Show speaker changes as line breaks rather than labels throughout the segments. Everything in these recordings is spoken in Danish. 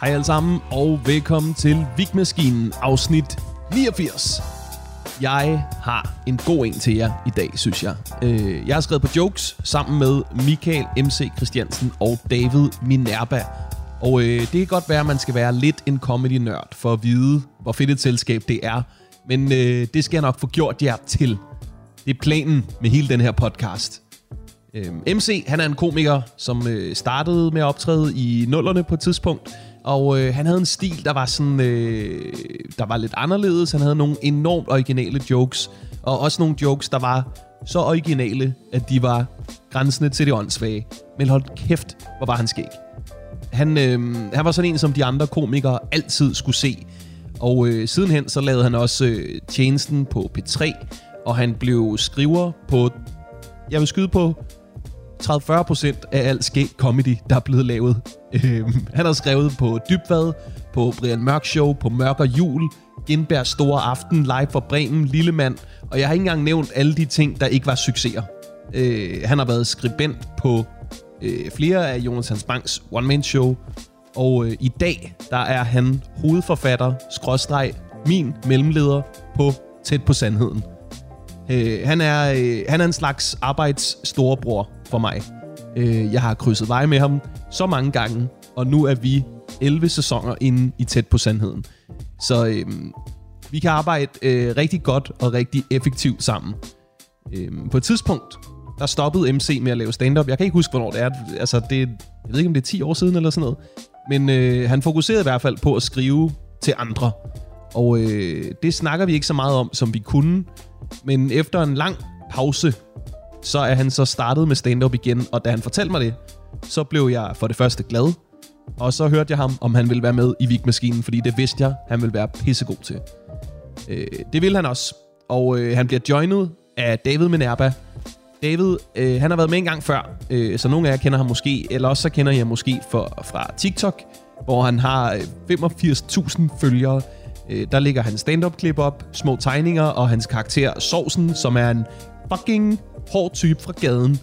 Hej alle sammen, og velkommen til Vigmaskinen afsnit 89. Jeg har en god en til jer i dag, synes jeg. Øh, Jeg har skrevet på jokes sammen med Michael MC Christiansen og David Minerva. Og øh, det kan godt være, at man skal være lidt en comedy-nørd for at vide, hvor fedt et selskab det er. Men øh, det skal jeg nok få gjort jer til. Det er planen med hele den her podcast. Øhm, MC, han er en komiker, som øh, startede med at optræde i nullerne på et tidspunkt, og øh, han havde en stil, der var sådan, øh, der var lidt anderledes. Han havde nogle enormt originale jokes, og også nogle jokes, der var så originale, at de var grænsende til det åndssvage. Men hold kæft, hvor var han skæg. Han, øh, han var sådan en, som de andre komikere altid skulle se. Og øh, sidenhen så lavede han også øh, tjenesten på P3, og han blev skriver på, jeg vil skyde på 30-40 procent af al skæg comedy, der er blevet lavet. Øh, han har skrevet på Dybvad, på Brian Mørk Show, på Mørk og Jul, Gindbergs Store Aften, Live fra Bremen, Lillemand, og jeg har ikke engang nævnt alle de ting, der ikke var succeser. Øh, han har været skribent på øh, flere af Jonas Banks one-man-show, og øh, i dag, der er han hovedforfatter, skråstreg, min mellemleder på Tæt på Sandheden. Øh, han, er, øh, han er en slags arbejds storebror for mig. Øh, jeg har krydset veje med ham så mange gange, og nu er vi 11 sæsoner inde i Tæt på Sandheden. Så øh, vi kan arbejde øh, rigtig godt og rigtig effektivt sammen. Øhm, på et tidspunkt, der stoppede MC med at lave stand-up. Jeg kan ikke huske, hvornår det er. Altså, det, jeg ved ikke, om det er 10 år siden eller sådan noget. Men øh, han fokuserede i hvert fald på at skrive til andre. Og øh, det snakker vi ikke så meget om, som vi kunne. Men efter en lang pause, så er han så startet med stand-up igen. Og da han fortalte mig det, så blev jeg for det første glad. Og så hørte jeg ham, om han ville være med i Vigmaskinen, fordi det vidste jeg, han ville være pissegod til. Øh, det vil han også. Og øh, han bliver joinet af David Minerva. David, øh, han har været med en gang før, øh, så nogle af jer kender ham måske, eller også så kender I ham måske for, fra TikTok, hvor han har øh, 85.000 følgere. Øh, der ligger hans stand-up-klip op, små tegninger og hans karakter Sovsen, som er en fucking hård type fra gaden.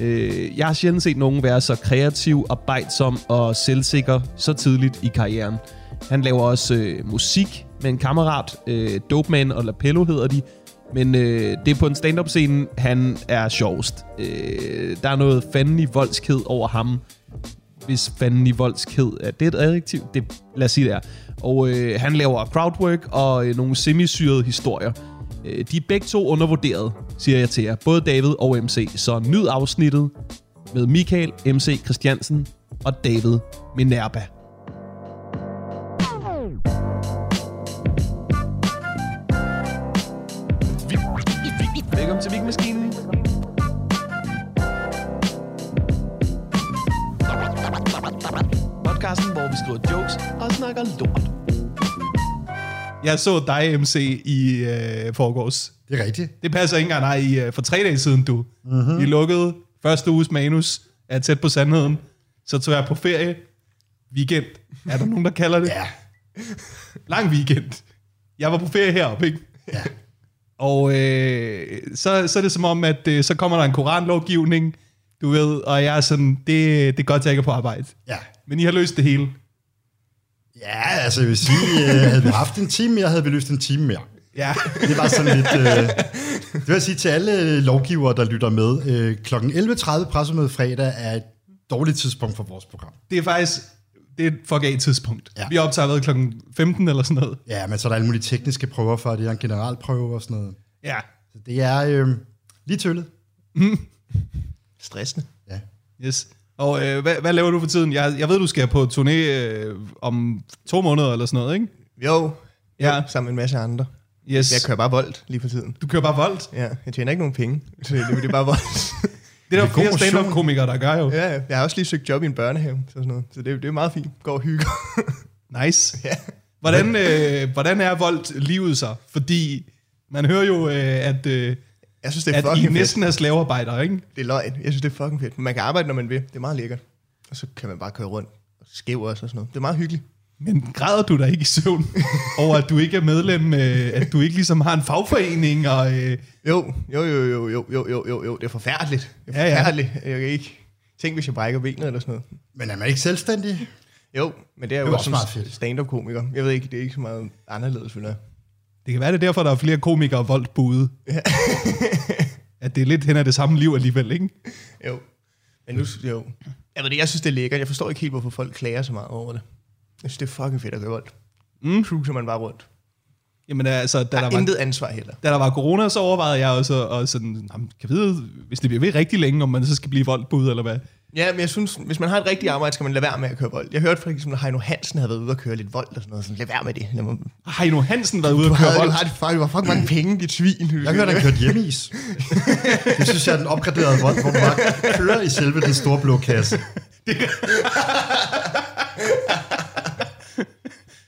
Øh, jeg har sjældent set nogen være så kreativ, arbejdsom og selvsikker så tidligt i karrieren. Han laver også øh, musik med en kammerat, øh, Dopeman og Lapello hedder de. Men øh, det er på en stand-up scene, han er sjovest. Øh, der er noget fanden i voldskhed over ham. Hvis fanden i voldskhed er det et adjektiv, det, lad os sige det er. Og øh, han laver crowdwork og øh, nogle semisyrede historier. Øh, de er begge to undervurderet, siger jeg til jer. Både David og MC. Så nyd afsnittet med Michael, MC Christiansen og David Minerva. Velkommen til Vigmaskinen. Podcasten, hvor vi skriver jokes og snakker lort. Jeg så dig, MC, i øh, forgårs.
Det er rigtigt.
Det passer ikke engang, nej, I, øh, for tre dage siden, du.
Mhm.
Mm-hmm. I lukkede første uges manus af Tæt på Sandheden. Så tog jeg på ferie. Weekend. Er der nogen, der kalder det?
Ja.
Lang weekend. Jeg var på ferie heroppe, ikke?
ja.
Og øh, så, så er det som om, at øh, så kommer der en koranlovgivning, du ved, og jeg er sådan, det, det er godt, jeg ikke er på arbejde.
Ja.
Men I har løst det hele.
Ja, altså jeg vil sige, øh, havde vi haft en time mere, havde vi løst en time mere.
Ja.
Det var sådan lidt... Øh, det vil jeg sige til alle lovgivere, der lytter med. Øh, kl. 11.30 pressemøde fredag er et dårligt tidspunkt for vores program.
Det er faktisk, det er et fuck af tidspunkt. Ja.
Ja.
Vi optager været klokken 15 eller sådan noget.
Ja, men så er der alle mulige tekniske prøver for, det er en generalprøve og sådan noget.
Ja.
Så det er øh, lige tøllet.
Stressende.
Ja.
Yes. Og øh, hvad, hvad laver du for tiden? Jeg, jeg ved, du skal på turné øh, om to måneder eller sådan noget, ikke?
Jo,
Ja.
ja. jo, sammen med en masse andre.
Yes.
Jeg kører bare voldt lige for tiden.
Du kører bare voldt.
Ja, jeg tjener ikke nogen penge, så det, det er bare voldt.
Det er der
er god
flere
motion.
stand-up-komikere, der gør jo.
ja, ja. jeg har også lige søgt job i en børnehave, så, sådan noget. så det, det er meget fint. Går og hygger.
Nice.
ja.
Hvordan, øh, hvordan er voldt livet så? Fordi man hører jo, øh, at, øh,
Jeg synes, det er
at I
fucking
næsten er slavearbejdere, ikke?
fedt. Det er løgn. Jeg synes, det er fucking fedt. Men man kan arbejde, når man vil. Det er meget lækkert. Og så kan man bare køre rundt og skæve os og sådan noget. Det er meget hyggeligt.
Men græder du dig ikke i søvn over, at du ikke er medlem, øh, at du ikke ligesom har en fagforening? Og, øh,
Jo, jo, jo, jo, jo, jo, jo, jo, jo. Det er forfærdeligt. Det er
Ja, ja.
forfærdeligt. Ja, ja. Jeg kan ikke... Tænk, hvis jeg brækker benet eller sådan noget.
Men er man ikke selvstændig?
Jo, men det er jo
Det var
også
også
som
meget fedt.
stand-up-komiker. Jeg ved ikke, det er ikke så meget anderledes, føler jeg.
Det kan være, det er derfor, der er flere komikere voldt bude. at det er lidt hen af det samme liv alligevel, ikke?
Jo. Men nu, jo. Jeg ved det, jeg synes, det er lækkert. Jeg forstår ikke helt, hvorfor folk klager så meget over det. Jeg synes, det er fucking fedt at gøre rundt. Mm. Cruiser man bare rundt.
Jamen altså, da
Der
der,
er
var,
intet ansvar heller.
da der var corona, så overvejede jeg også og sådan, jamen, kan vide, hvis det bliver ved rigtig længe, om man så skal blive voldt bude, eller hvad?
Ja, men jeg synes, hvis man har et rigtigt arbejde, skal man lade være med at køre vold. Jeg hørte for eksempel, at Heino Hansen havde været ude og køre lidt vold og sådan noget. Sådan, lad være med det. Lad mig...
Har I nu Hansen været ude
Du
og køre
havde, du
voldt?
har det fucking, hvor fucking mange penge, dit svin.
Jeg kan da kørt hjemmeis. Det synes jeg er den opgraderede vold, hvor man bare kører i selve den store blå kasse.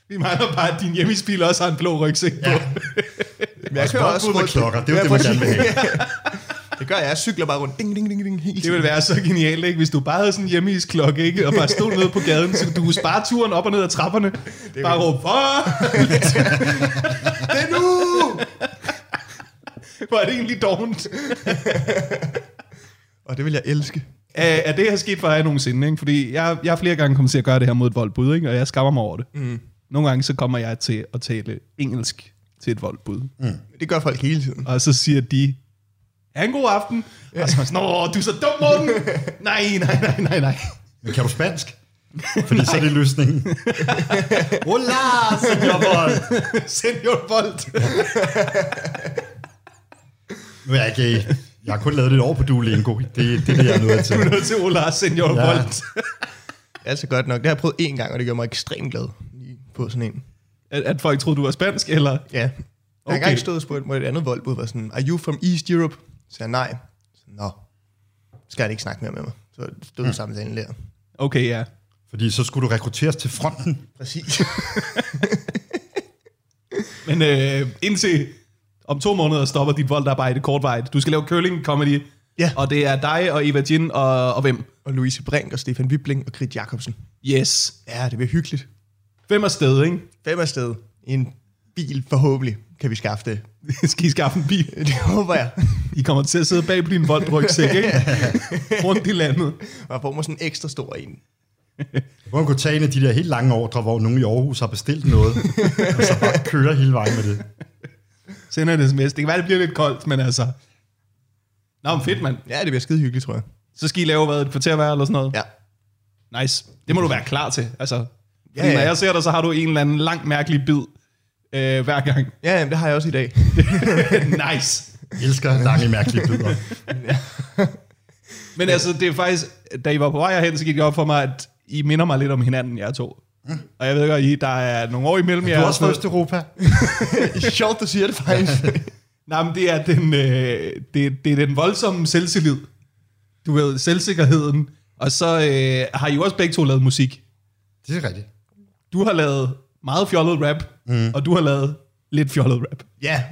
Vi mangler bare, at din hjemmespil også har en blå rygsæk på. Ja.
Men jeg kører også
Ud med
rundt.
klokker, det er jo
Ja,
det, man
præcis.
gerne vil have.
Det gør jeg. Jeg cykler bare rundt. Ding, ding, ding, ding. Helt
Det ville være så genialt, ikke? Hvis du bare havde sådan en hjemmeisklokke, ikke? Og bare stod nede på gaden, så du kunne spare turen op og ned ad trapperne. Bare råbe, "Fuck!"
Det er nu!
hvor er det egentlig dovent.
Og det vil jeg elske.
Er, er det her sket for jer nogensinde, ikke? Fordi jeg, jeg er flere gange kommet til at gøre det her mod et voldbud, ikke? Og jeg skammer mig over det. Mm. Nogle gange så kommer jeg til at tale engelsk til et voldbud. Mm.
Det gør folk hele tiden.
Og så siger de, ha' en god aften. Og så er man sådan, åh, du er så dum, Morten. nej, nej, nej, nej, nej.
Men kan du spansk? Fordi så er det løsningen. Hola, senor vold.
Senior vold.
Nu er jeg gay. Jeg har kun lavet det et år på Duolingo. Det, det er det, jeg er nødt til.
Du er nødt til Ola, senior
Ja.
ja. vold.
Det er altså godt nok. Det har jeg prøvet én gang, og det gjorde mig ekstremt glad lige på sådan en.
At, at folk troede, du var spansk, eller?
Ja. Jeg har
Okay.
engang stået og spurgt mod et andet voldbud, var sådan, are you from East Europe? Så jeg nej. Så, Nå, skal han ikke snakke mere med mig. Så stod mm. samtalen der.
Okay, ja.
Fordi så skulle du rekrutteres til fronten.
Præcis.
Men øh, indtil om to måneder stopper dit voldarbejde kortvejt. Du skal lave curling comedy.
Ja.
Og det er dig og Eva Jin og, og hvem?
og Louise Brink og Stefan Wibling og Grit Jacobsen.
Yes.
Ja, det bliver hyggeligt.
Hvem er sted, ikke?
Fem afsted i en bil, forhåbentlig, kan vi skaffe det.
skal I skaffe en bil?
Det håber jeg.
I kommer til at sidde bag på din voldbrygsæk, ikke? Rundt i landet.
Og jeg får mig sådan en ekstra stor en.
Hvor man kunne tage en af de der helt lange ordre, hvor nogen i Aarhus har bestilt noget, og så bare kører hele vejen med det.
Sender det sms. Det kan være, det bliver lidt koldt, men altså... Nå, men fedt, mand.
Ja, det bliver skide hyggeligt, tror jeg.
Så skal I lave, hvad, et kvarter hver eller sådan noget?
Ja.
Nice. Det må du være klar til. Altså, ja,
ja.
ja. Når jeg ser dig, så har du en eller anden lang mærkelig bid øh, hver gang.
Ja, jamen, det har jeg også i dag.
nice.
Jeg elsker lange, mærkelige bidder.
Men altså, det er faktisk, da I var på vej herhen, så gik det op for mig, at I minder mig lidt om hinanden, jer to. Og jeg ved godt, I, der er nogle år imellem jer.
Du er
og
også
sådan noget.
Østeuropa.
Sjovt, du siger det faktisk.
Nej, men det er den, øh, det, det er den voldsomme selvtillid. Du ved, selvsikkerheden. Og så øh, har I jo også begge to lavet musik.
Det er rigtigt.
Du har lavet meget fjollet rap, mm. og du har lavet lidt fjollet rap.
ja.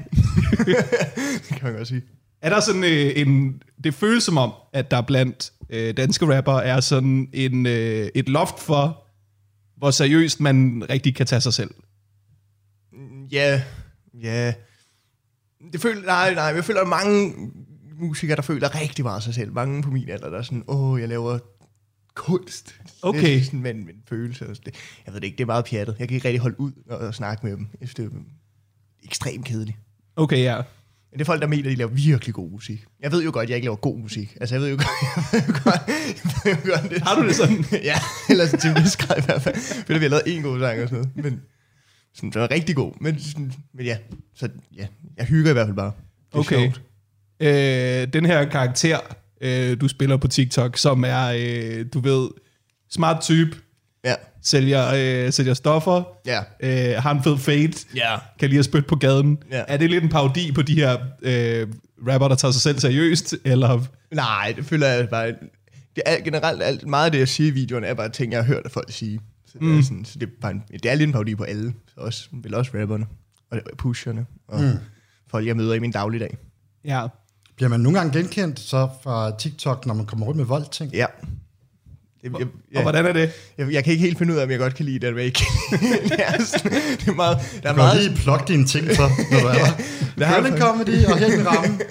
det kan man godt sige.
Er der sådan øh, en... Det føles som om, at der blandt øh, danske rapper er sådan en, øh, et loft for, hvor seriøst man rigtig kan tage sig selv.
Ja, ja. Det føler, nej, nej, jeg føler, at mange musikere, der føler rigtig meget sig selv, mange på min alder, der er sådan, åh, jeg laver kunst.
Okay.
Det er sådan, men, men følelser, og sådan det. jeg ved det ikke, det er meget pjattet. Jeg kan ikke rigtig holde ud og, og snakke med dem. Jeg synes, det er ekstremt kedeligt.
Okay, ja.
Men det er folk, der mener, at de laver virkelig god musik. Jeg ved jo godt, at jeg ikke laver god musik. Altså, jeg ved jo godt, jeg ved jo godt, jeg ved jo godt det.
Har du det sådan?
ja, eller sådan til en vis grad i hvert fald. Fordi vi har lavet en god sang og sådan noget. Men sådan, den er rigtig god. Men, sådan, men ja, så ja, jeg hygger i hvert fald bare. Det er
Okay.
sjovt.
Øh, den her karakter, øh, du spiller på TikTok, som er, øh, du ved, smart type,
Ja,
sælger, øh, sælger stoffer,
ja.
øh, har en fed fade,
Ja.
kan lige at spytte på gaden.
Ja.
Er det lidt en parodi på de her øh, rapper, der tager sig selv seriøst? Eller
Nej, det føler jeg bare... Det er generelt alt, meget af det, jeg siger i videoen, er bare ting, jeg har hørt af folk sige. Så det,
Mm.
er sådan, så det, er bare en, det er lidt en parodi på alle. Så også, vel også rapperne og pusherne og mm. folk, jeg møder i min dagligdag.
ja.
Bliver man nogle gange genkendt så fra TikTok, når man kommer rundt med voldting?
Ja. Det, jeg,
Ja. Og hvordan er det?
Jeg, jeg kan ikke helt finde ud af, om jeg godt kan lide det, eller hvad jeg ikke kan lide. det. Er sådan, det er meget... Der er
Du kan
meget,
lige plukke dine ting så, når du er der.
Det har jeg
Curling comedy og her i rammen.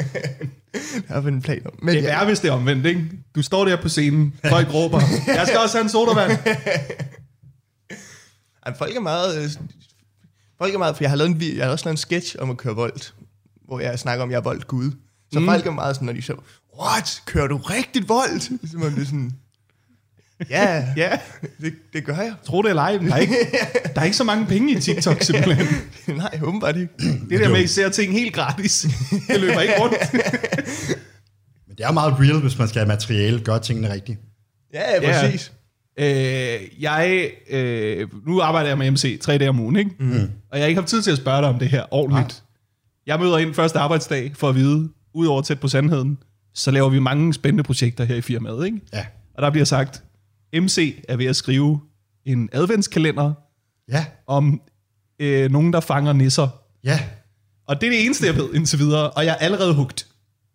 der er en plan om. Men
Det er
ja,
værre, hvis det er omvendt, ikke? Du står der på scenen, folk råber, jeg skal også have en sodavand.
Ej, folk er meget... Øh, folk er meget... For jeg har, lavet en, vi- jeg har også lavet en sketch om at køre voldt, hvor jeg snakker om, at jeg er voldt gud. Så mm. folk er meget sådan, når de så... What? Kører du rigtigt voldt? Så man bliver sådan... Ja, yeah,
Ja,
det, det gør jeg.
tro det eller ej, men der er, ikke, der er ikke så mange penge i TikTok simpelthen.
Nej, åbenbart ikke.
Det der med, at I ser ting helt gratis. Det løber ikke rundt.
Men det er meget real, hvis man skal have materiale, gøre tingene rigtigt.
Ja, præcis.
Øh, jeg, øh, nu arbejder jeg med MC tre dage om ugen, ikke? Mm. og jeg har ikke haft tid til at spørge dig om det her ordentligt. Jeg møder ind første arbejdsdag for at vide, udover tæt på sandheden, så laver vi mange spændende projekter her i firmaet. Ikke?
Ja.
Og der bliver sagt, MC er ved at skrive en adventskalender
Ja,
om øh, nogen, der fanger nisser.
ja.
Og det er det eneste, jeg ved indtil videre, og jeg er allerede hugt.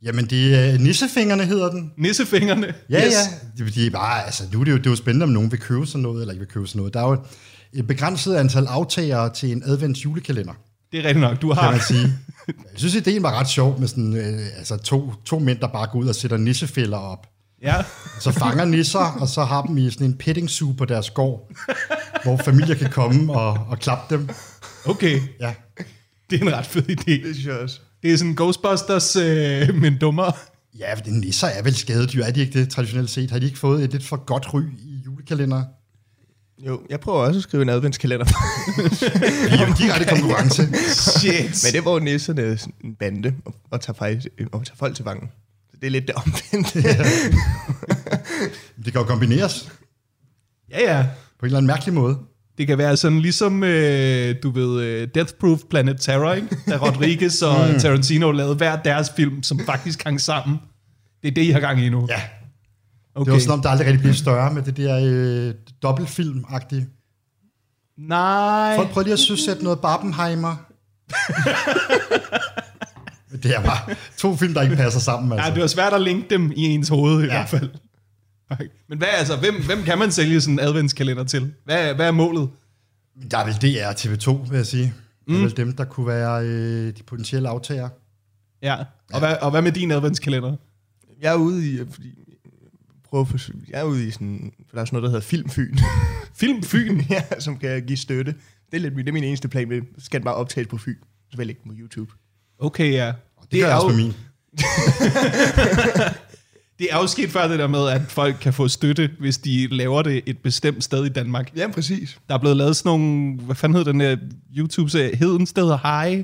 Jamen, det er nissefingerne, hedder den.
Nissefingerne.
Ja, yes. ja. Det, det er bare, altså, nu er det, jo, det er jo spændende, om nogen vil købe sådan noget, eller ikke vil købe sådan noget. Der er jo et begrænset antal aftagere til en advents julekalender,
Det er rigtigt nok, du
kan
har.
man sige. Jeg synes, ideen var ret sjov med sådan, øh, altså to, to mænd, der bare går ud og sætter nissefælder op.
Ja.
Så fanger nisser, og så har dem i sådan en petting zoo på deres gård, hvor familier kan komme og, og klappe dem.
Okay,
Ja,
det er en ret fed idé.
Det synes jeg også.
Det er sådan Ghostbusters, øh, men dummere.
ja for nisser er vel skadedyr, er de ikke det traditionelt set? Har de ikke fået et lidt for godt ry i julekalender?
Jo, jeg prøver også at skrive en adventskalender.
De er jo en direkte konkurrence.
Shit.
Men det er, hvor nisserne er sådan en bande og, og, tager, faktisk, øh, og tager folk til vangen. Så det er lidt det omvendte.
Det kan jo kombineres
ja, ja.
på en eller anden mærkelig måde.
Det kan være sådan ligesom, øh, du ved, øh, Death Proof Planet Terror, ikke? Da Rodriguez og mm. Tarantino lavede hver deres film, som faktisk hang sammen. Det er det, I har gang i nu.
Ja,
okay.
det var sådan, om der aldrig rigtig blev større med det der øh, dobbeltfilm-agtige.
Nej.
Folk prøver lige at søsætte noget Barbenheimer. det er bare to film, der ikke passer sammen.
Nej,
Altså.
det var svært at linke dem i ens hoved i ja. hvert fald. Okay. Men hvad altså, hvem, hvem kan man sælge sådan en adventskalender til? Hvad, hvad er målet?
Der er vel DR og TV2, vil jeg sige. Det er vel dem, der kunne være øh, de potentielle aftager.
Ja. Og, ja. Hvad, og hvad med din adventskalender?
jeg er ude i, øh, fordi, prøver at forsøge, jeg er ude i sådan, for der er sådan noget, der hedder Filmfyn.
Film Fyn.
ja, som kan give støtte. Det er, lidt, min- det er min eneste plan med, så skal den bare optages på Fyn. Så vil jeg lægge den på YouTube.
Okay, ja.
Det, det gør jeg
er
også
jo-
med min.
Det er jo sket før det der med, at folk kan få støtte, hvis de laver det et bestemt sted i Danmark.
Ja, præcis.
Der er blevet lavet sådan nogle, hvad fanden hed den der YouTube-serie, Hedensted og Hej,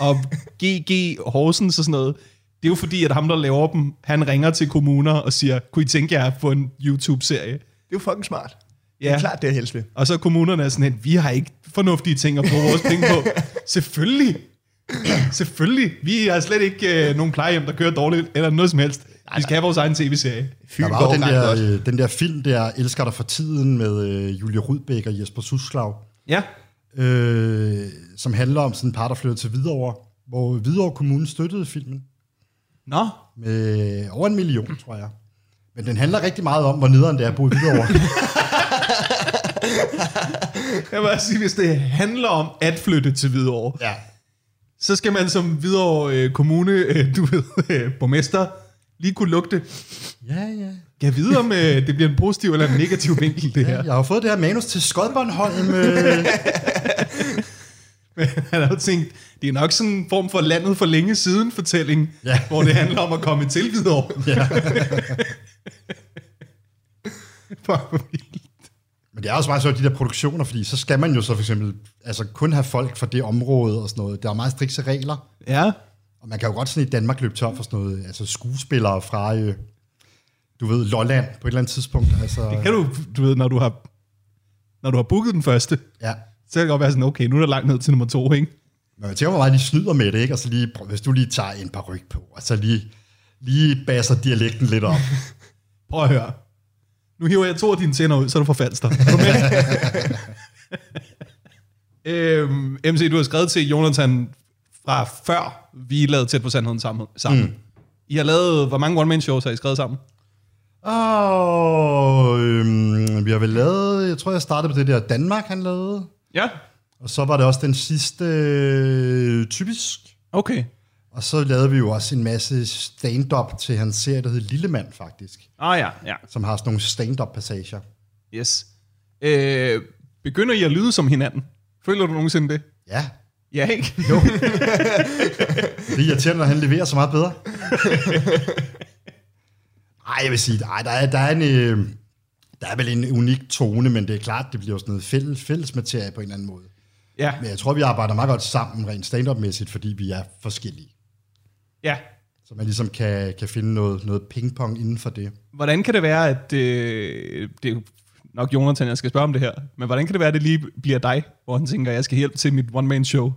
og GG Horsens og sådan noget. Det er jo fordi, at ham, der laver dem, han ringer til kommuner og siger, kunne I tænke jer på en YouTube-serie?
Det er jo fucking smart. Ja. Det
Ja.
er klart, det er jeg helst ved.
Og så er kommunerne er sådan lidt, vi har ikke fornuftige ting at bruge vores penge på. Selvfølgelig. Selvfølgelig. Vi har slet ikke øh, nogen plejehjem, der kører dårligt, eller noget som helst. Vi skal have vores egen tv-serie.
Fyn
Der var jo den
ret godt.
der, øh, den der film der, Elsker dig for tiden, med øh, Julie Rudbæk og Jesper Suslav,
Ja.
øh, som handler om sådan en par, der flytter til Hvidovre, hvor Hvidovre Kommune støttede filmen
Nå,
med over en million, tror jeg. Men den handler rigtig meget om, hvor nederen det er at bo i Hvidovre.
Jeg vil også sige, hvis det handler om at flytte til Hvidovre,
ja.
så skal man som Hvidovre øh, Kommune, øh, du ved, øh, borgmester, lige kunne lugte.
Ja, ja.
Jeg ved, om øh, det bliver en positiv eller en negativ vinkel, det her.
Jeg har jo fået det her manus til Skodbornholm. Øh,
Men han har jo tænkt, det er nok sådan en form for landet for længe siden fortælling,
Ja.
hvor det handler om at komme til Hvidovre. Ja. Fuck, hvor vildt.
men det er også meget sjovt, de der produktioner, fordi så skal man jo så for eksempel altså kun have folk fra det område og sådan noget. Der er meget strikse regler.
ja.
Og man kan jo godt sådan i Danmark løbe tør for sådan noget, altså skuespillere fra, øh, du ved, Lolland på et eller andet tidspunkt. Altså,
Kan du, du ved, når du har, når du har booket den første,
ja.
så kan det godt være sådan, okay, nu er der langt ned til nummer to, ikke?
Men jeg tænker, hvor meget de snyder med det, ikke? Og så lige, prøv, hvis du lige tager en par ryg på, og så lige, lige basser dialekten lidt op.
Prøv at høre. Nu hiver jeg to af dine tænder ud, så er du forfalster. Er du med? øhm, MC, du har skrevet til Jonathan fra før vi lavede Tæt på Sandheden sammen. sammen. Mm. I har lavet, hvor mange one-man-shows har I skrevet sammen?
Og øhm, vi har vel lavet, jeg tror, jeg startede på det der Danmark, han lavede.
Ja.
Og så var det også den sidste, øh, typisk.
Okay.
Og så lavede vi jo også en masse stand-up til hans serie, der hed Lillemand faktisk,
Ah ja, ja.
som har sådan nogle stand-up passager.
Yes. Øh, Begynder I at lyde som hinanden? Føler du nogensinde det?
Ja,
Ja, ikke?
det er irriterende, at han leverer så meget bedre. Nej, jeg vil sige, ej, der, er, der, er en, øh, der er vel en unik tone, men det er klart, det bliver jo sådan noget fælles, fælles materie på en eller anden måde.
Ja,
Men jeg tror, vi arbejder meget godt sammen rent stand-up-mæssigt, fordi vi er forskellige.
ja.
Så man ligesom kan, kan finde noget, noget pingpong inden for det.
Hvordan kan det være, at... Øh, det er jo nok Jonathan, jeg skal spørge om det her. Men hvordan kan det være, at det lige bliver dig, hvor han tænker, jeg skal hjælpe til mit one-man-show?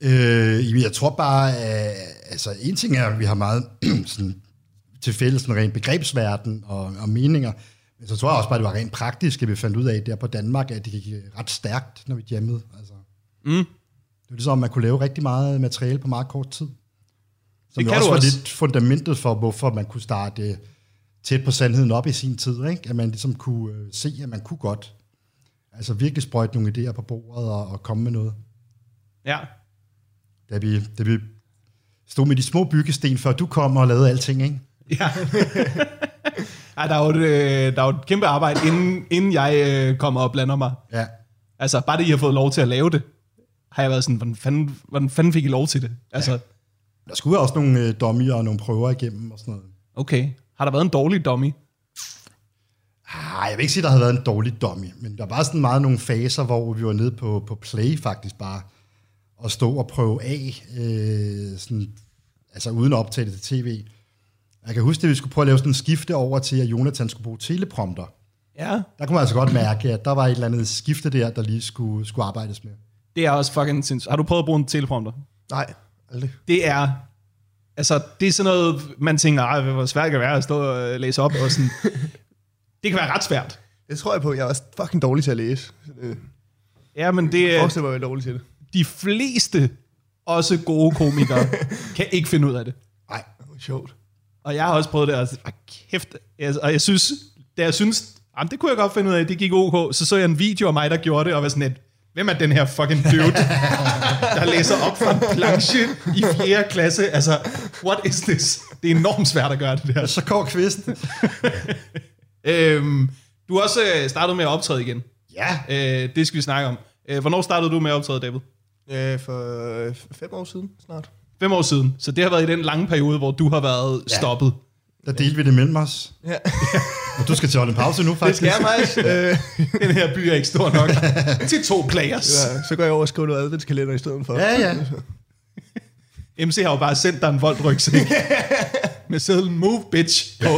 Øh, jamen, jeg tror bare, at, altså en ting er, at vi har meget sådan, til fælles sådan rent begrebsverden og, og meninger, men så tror jeg også bare, at det var rent praktisk, at vi fandt ud af der på Danmark, at det gik øh, ret stærkt, når vi jammede. Altså. Mm. Det er ligesom, at man kunne lave rigtig meget materiale på meget kort tid. Som
Det
det
kan
kan også
du
var
også.
lidt fundamentet for, hvorfor man kunne starte øh, tæt på sandheden op i sin tid. Ikke? At man ligesom kunne øh, se, at man kunne godt. Altså virkelig sprøjte nogle idéer på bordet og, og komme med noget
Ja.
da vi, da vi stod med de små byggesten, før du kom og lavede alting, ikke?
Ja. Ej, der er, jo et, øh, der er jo et kæmpe arbejde, inden, inden jeg øh, kommer og blander mig.
Ja.
Altså, bare det, I har fået lov til at lave det, har jeg været sådan, hvordan fanden, hvordan fanden fik I lov til det? Altså, ja.
Der skulle også nogle øh, dummier og nogle prøver igennem og sådan noget.
okay, har der været en dårlig dummy?
Ah, jeg vil ikke sige, at der havde været en dårlig dummy, men der var sådan meget nogle faser, hvor vi var nede på, på play faktisk bare, og stå og prøve af, øh, sådan, altså uden at optage det til tv. Jeg kan huske, at vi skulle prøve at lave sådan en skifte over til, at Jonathan skulle bruge teleprompter.
Ja.
Der kunne man altså godt mærke, at der var et eller andet skifte der, der lige skulle, skulle arbejdes med.
Det er også fucking sindssygt. Har du prøvet at bruge en teleprompter?
Nej, aldrig.
Det er... Altså, det er sådan noget, man tænker, "Ej, hvor svært det kan være at stå og læse op, og sådan... Det kan være ret svært.
Det tror jeg på. Jeg er også fucking dårlig til at læse. Øh,
Ja, men det
Jeg
er...
forestiller mig, at jeg er dårlig til det.
De fleste, også gode komikere, kan ikke finde ud af det.
Nej,
Det var sjovt.
Og jeg har også prøvet det, og altså, ah, kæft. Altså, og jeg synes, da jeg synes, jamen, det kunne jeg godt finde ud af, det gik ok. Så så jeg en video af mig, der gjorde det, og var sådan lidt, hvem er den her fucking dude, der læser op fra en planche i 4. klasse? Altså, what is this? Det er enormt svært at gøre det der.
så går kvist.
Øhm, du har også øh, startet med at optræde igen.
Ja,
Øh, det skal vi snakke om. Øh, hvornår startede du med at optræde, David?
Øh, for øh, fem år siden snart.
Fem år siden. Så det har været i den lange periode, hvor du har været ja. stoppet.
Der delte vi det mellem os.
Ja.
Og du skal til at holde en pause nu,
Det
faktisk.
skal jeg, Majs. øh,
Den her by er ikke stor nok til to players.
ja, så går jeg over og skriver noget adventskalender i stedet for.
Ja, ja.
MC har jo bare sendt dig en voldrygsæk med sædlen Move Bitch på.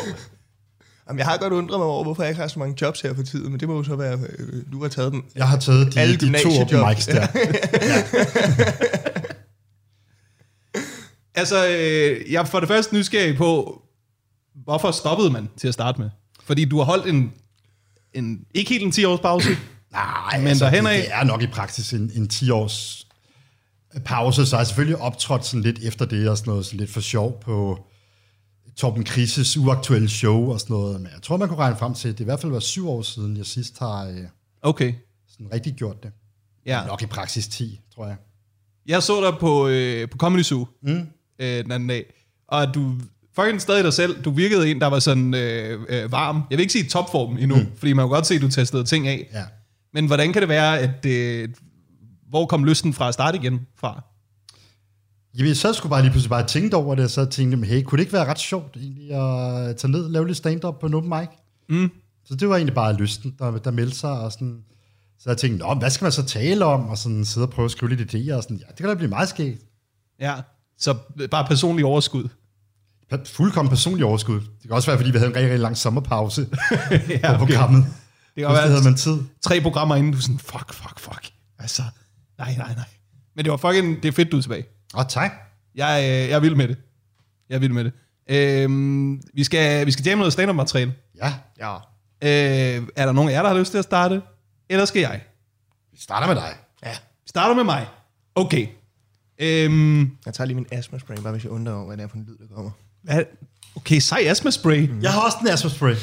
Jamen, jeg har godt undret mig over, hvorfor jeg ikke har så mange jobs her for tiden, men det må jo så være, øh, du har taget dem.
Jeg har taget de,
Alle
de to
gymnasiejob.
open mics der.
Altså, øh, jeg er for det første nysgerrig på, hvorfor stoppede man til at starte med? Fordi du har holdt en, en ikke helt en 10-års pause.
Nej,
Men
men altså,
derhenad-
det, det er nok i praksis en, en 10-års pause, så jeg har selvfølgelig optrådt sådan lidt efter det, og sådan noget sådan lidt for sjov på Torben Krises uaktuelle show og sådan noget. Men jeg tror, man kunne regne frem til, at det i hvert fald var syv år siden, jeg sidst har øh,
Okay,
sådan rigtig gjort det.
ja.
Nok i praksis 10, tror jeg.
Jeg så dig på, øh, på Comedy Zoo mm. øh, den anden dag, og du fucking stadig dig selv. Du virkede en, der var sådan øh, øh, varm. Jeg vil ikke sige topform endnu, mm. fordi man kan godt se, at du testede ting af.
Ja.
Men hvordan kan det være, at... Øh, hvor kom lysten fra at starte igen fra?
Jamen, så skulle jeg bare lige pludselig bare tænke over det, og så tænkte jeg, hey, kunne det ikke være ret sjovt egentlig at tage ned og lave lidt stand-up på en open mic?
Mm.
Så det var egentlig bare lysten, der, der meldte sig, og sådan, så jeg tænkte, Nå, men hvad skal man så tale om, og sådan sidde og prøve at skrive lidt idéer, og sådan, ja, det kan da blive meget skægt.
Ja, så øh, bare personlig overskud.
Pa- Fuldkommen personlig overskud. Det kan også være, fordi vi havde en rigtig, rigtig lang sommerpause
ja,
ja, på programmet.
Det
Det
kan
kan
være-
havde man tid.
Tre programmer inden, du er sådan, fuck, fuck, fuck. Altså, nej, nej, nej. Men det var fucking, det er fedt, du er tilbage.
Åh, tak.
Jeg, øh, jeg er vild med det. Jeg er vild med det. Øhm, vi, skal, vi skal jamme noget stand-up materiale.
Ja,
Ja.
Øh, er der nogen af jer, der har lyst til at starte? Eller skal jeg?
vi starter med dig.
Ja.
Vi starter med mig. Okay. Øhm,
Jeg tager lige min astma spray, bare hvis jeg undrer over, hvad det er for en lyd, der kommer.
hvad? Okay, sej astma spray. Mm.
Jeg har også en asthma spray.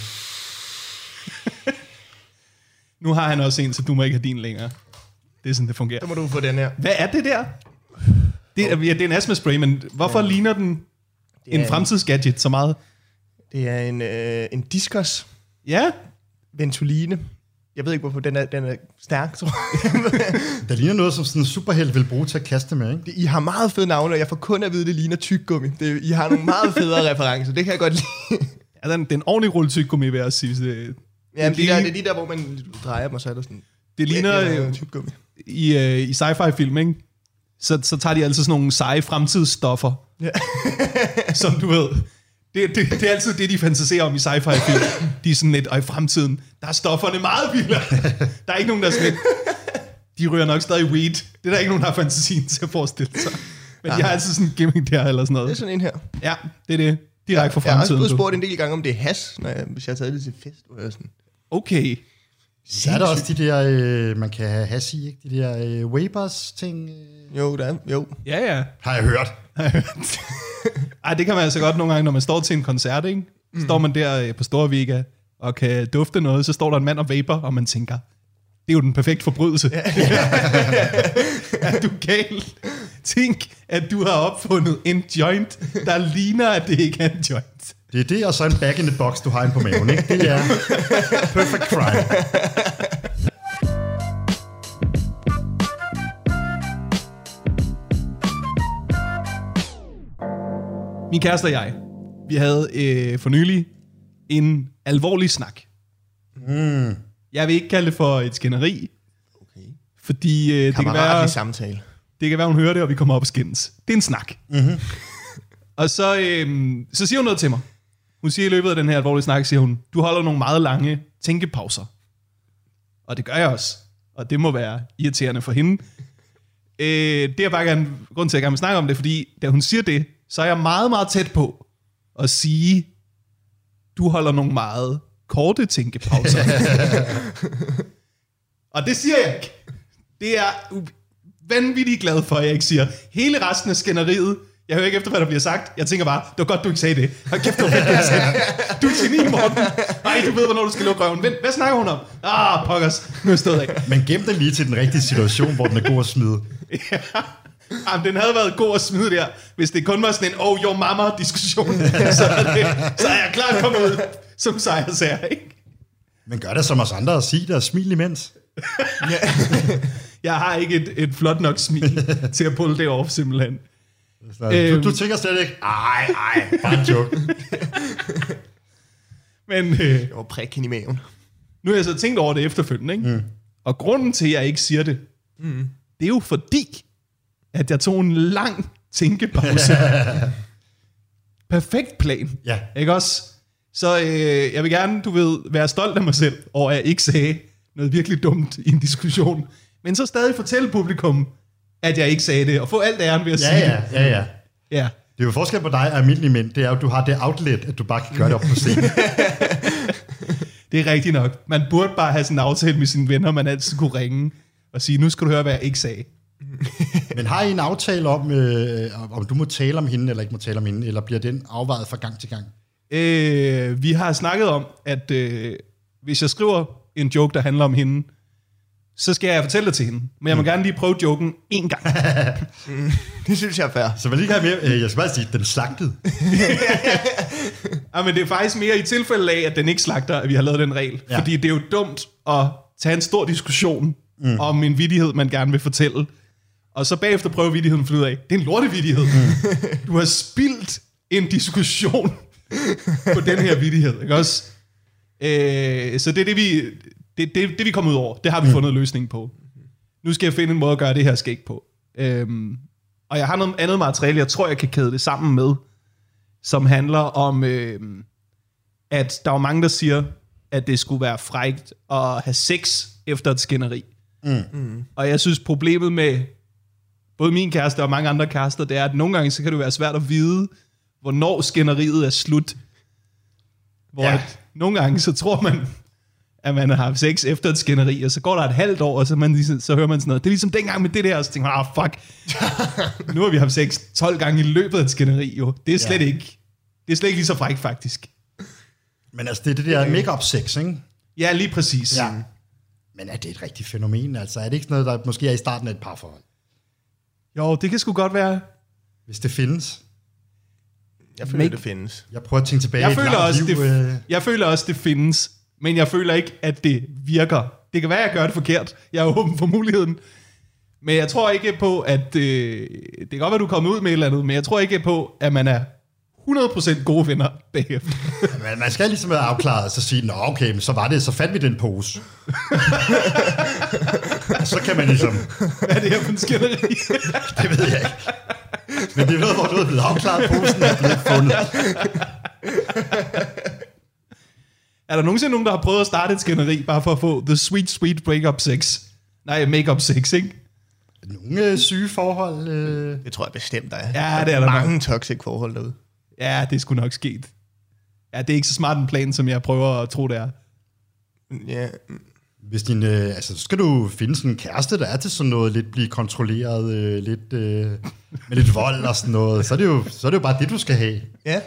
Nu har han også en, så du må ikke have din længere. Det er sådan, det fungerer.
Så må du få den her.
Hvad er det der? Det, er, ja, det er en astmaspray, men hvorfor ja. ligner den en
er-
fremtidsgadget så meget?
Det er en, øh, en diskos
Ja,
ventoline Jeg ved ikke, hvorfor den er, den er stærk, tror jeg.
Der ligner noget, som sådan en superhelt vil bruge til at kaste med, ikke?
I har meget fede navne, og jeg får kun at vide, at det ligner tyggegummi. Det, I har nogle meget federe referencer, det kan jeg godt lide.
Ja, den, den ordentlige rulle tyggegummi, vil jeg sige. hvis Det, det,
Jamen, det, der, det er
det,
de der, hvor man drejer dem, og så er der sådan...
det ligner øh,
tyggegummi.
i, øh, i sci-fi-film, ikke? Så, så tager de altid sådan nogle seje fremtidsstoffer,
Ja.
som du ved. Det, det, det er altid det, de fantaserer om i sci-fi-film. De er sådan lidt, og i fremtiden, der er stofferne meget vildere. Der er ikke nogen, der er sådan lidt, de ryger nok stadig weed. Det er der ikke nogen, der har fantasien til at forestille sig. Men de har altid sådan en gimmick der, eller sådan
Det er
noget.
sådan en her.
Ja, det er det. Direkte fra
Jeg har også
fremtiden.
blevet
du.
spurgt en del gange, om det er has, når jeg, hvis jeg har taget det til fest. Hvor jeg er sådan,
Okay.
Der er der også de der, øh, man kan have has i, ikke? De der øh, Webers-ting. Øh.
jo, der er, jo.
Ja, ja.
Har jeg hørt.
Ej, det kan man altså godt nogle gange, når man står til en koncert, ikke? Så Står man der øh, på Store Vega og kan dufte noget, så står der en mand og vaper, og man tænker, det er jo den perfekte forbrydelse. Ja. er du gal? Tænk, at du har opfundet en joint, der ligner, at det ikke er en joint.
Det er det, og så en back in the box, du har inde på maven, ikke? Det er perfect crime.
Min kæreste og jeg, vi havde øh, for nylig en alvorlig snak. Mm. Jeg vil ikke kalde det for et skænderi,
Okay.
fordi øh, det kan være...
Kammeratlig samtale.
Det kan være, hun hører det, og vi kommer op og skændes. Det er en snak. Mm-hmm. og så, øhm, så siger hun noget til mig. Hun siger i løbet af den her alvorlige snak, siger hun, du holder nogle meget lange tænkepauser. Og det gør jeg også. Og det må være irriterende for hende. Øh, det er bare gerne, grund til, at jeg gerne vil snakke om det, fordi da hun siger det, så er jeg meget, meget tæt på at sige, du holder nogle meget korte tænkepauser. og det siger jeg ikke. Det er u- vanvittigt glad for, at jeg ikke siger hele resten af skænderiet. Jeg hører ikke efter, hvad der bliver sagt. Jeg tænker bare, det var godt, du ikke sagde det. Hold kæft, det var fedt, du ikke sagde det. Du er et geni, Morten. Nej, du ved, hvornår du skal lukke røven. Vent, hvad snakker hun om? Ah, pokkers. Nu er jeg stået af.
Men gem den lige til den rigtige situation, hvor den er god at smide.
Jamen, den havde været god at smide der, hvis det kun var sådan en oh, your mama-diskussion. så, er det, så er jeg klart kommet ud som sejrsager, ikke?
Men gør det som os andre og sig det og smil imens.
Jeg har ikke et, et flot nok smil til at pulle det off, simpelthen.
Så, øhm.
Øhm.
du, du tænker slet ikke, ej, ej, bare en joke.
Men øh,
Jeg var prik hende i maven.
nu har jeg så tænkt over det efterfølgende, ikke? Mm. Og grunden til, at jeg ikke siger det, mm. det er jo fordi, at jeg tog en lang tænkepause. Perfekt plan.
Ja.
Ikke også? Så øh, jeg vil gerne, du ved, være stolt af mig selv over, at jeg ikke sagde noget virkelig dumt i en diskussion. Men så stadig fortælle publikum, at jeg ikke sagde det, og få alt æren ved at
Ja,
sige
ja,
det.
ja, ja.
Ja.
Det er jo forskel på dig og almindelige mænd, det er jo, at du har det outlet, at du bare kan gøre det op på scenen.
Det er rigtigt nok. Man burde bare have sådan en aftale med sine venner, man altid kunne ringe og sige, nu skal du høre, hvad jeg ikke sagde.
Men har I en aftale om, øh, om- om du må tale om hende, eller ikke må tale om hende, eller bliver den afvejet fra gang til gang?
Øh, vi har snakket om, at øh, hvis jeg skriver en joke, der handler om hende, så skal jeg fortælle det til hende. Men jeg må gerne lige prøve joken en gang.
Det synes jeg er fair.
Så man lige kan have mere, øh, jeg skal bare sige, den er slagtet.
Ja, men det er faktisk mere i tilfælde af, at den ikke slagter, at vi har lavet den regel.
Ja.
Ja. Fordi det er jo dumt at tage en stor diskussion mm. om en vidighed, man gerne vil fortælle. Og så bagefter prøve vidigheden at finde ud af, det er en lortevidighed. Mm. Du har spildt en diskussion på den her vidighed, ikke også? Øh, så det er det, vi, det, det, det, vi kommer ud over. Det har vi mm. fundet løsningen på. Nu skal jeg finde en måde at gøre det her skæg på. Øhm, og jeg har noget andet materiale, jeg tror, jeg kan kæde det sammen med som handler om, øh, at der var mange, der siger, at det skulle være frægt at have sex efter et skænderi. Mm. Og jeg synes, problemet med både min kæreste og mange andre kærester, det er, at nogle gange så kan det være svært at vide, hvornår skænderiet er slut. Hvor
Ja.
ja. at, nogle gange så tror man, at man har haft sex efter et skænderi, og så går der et halvt år, og så, man, ligesom- så hører man sådan noget. Det er ligesom dengang med det der, og så tænker man, ah fuck, nu har vi haft sex 12 gange i løbet af et skænderi, jo. Det er slet
Ja.
ja. ikke, det er slet ikke lige så frækt, faktisk.
Men altså, det er det der make-up sex, ikke?
Ja, lige præcis.
Ja. Men er det et rigtigt fænomen? Altså, er det ikke sådan noget, der måske er i starten af et parforhold?
Jo, det kan sgu godt være.
Hvis det findes.
Jeg føler,
Make-
det findes.
Jeg prøver at tænke tilbage
Jeg
i et
føler,
langt øh.
også,
liv,
det, jeg føler også, det findes, men jeg føler ikke, at det virker. Det Det kan være, jeg gør det forkert. Jeg er åben for muligheden. Men jeg tror ikke på, at... Øh, det kan godt være, du er kommet ud med et eller andet, men jeg tror ikke på, at man er 100% gode venner bagefter.
Man, man skal ligesom være afklaret og så sige, nå okay, men så var det, så fandt vi den pose. Og så kan man ligesom,
Hvad er det her for en skænderi?
det ved jeg ikke. Men det ved, hvor du er blevet afklaret, posen er blevet fundet.
er der nogensinde nogen, der har prøvet at starte et skænderi, bare for at få the sweet, sweet breakup sex? Nej, make-up sex, ikke?
Nogle øh, syge forhold. Øh.
Det tror jeg bestemt, der er.
Ja, det er der
mange toxic forhold derude.
Ja, det skulle nok ske. Ja, det er ikke så smart en plan, som jeg prøver at tro, det er.
Ja, mm,
Hvis din, øh, altså, så skal du finde sådan en kæreste, der er til sådan noget, lidt blive kontrolleret, øh, lidt, øh, med lidt vold og sådan noget. Så er, det jo, så er det jo bare det, du skal have.
ja.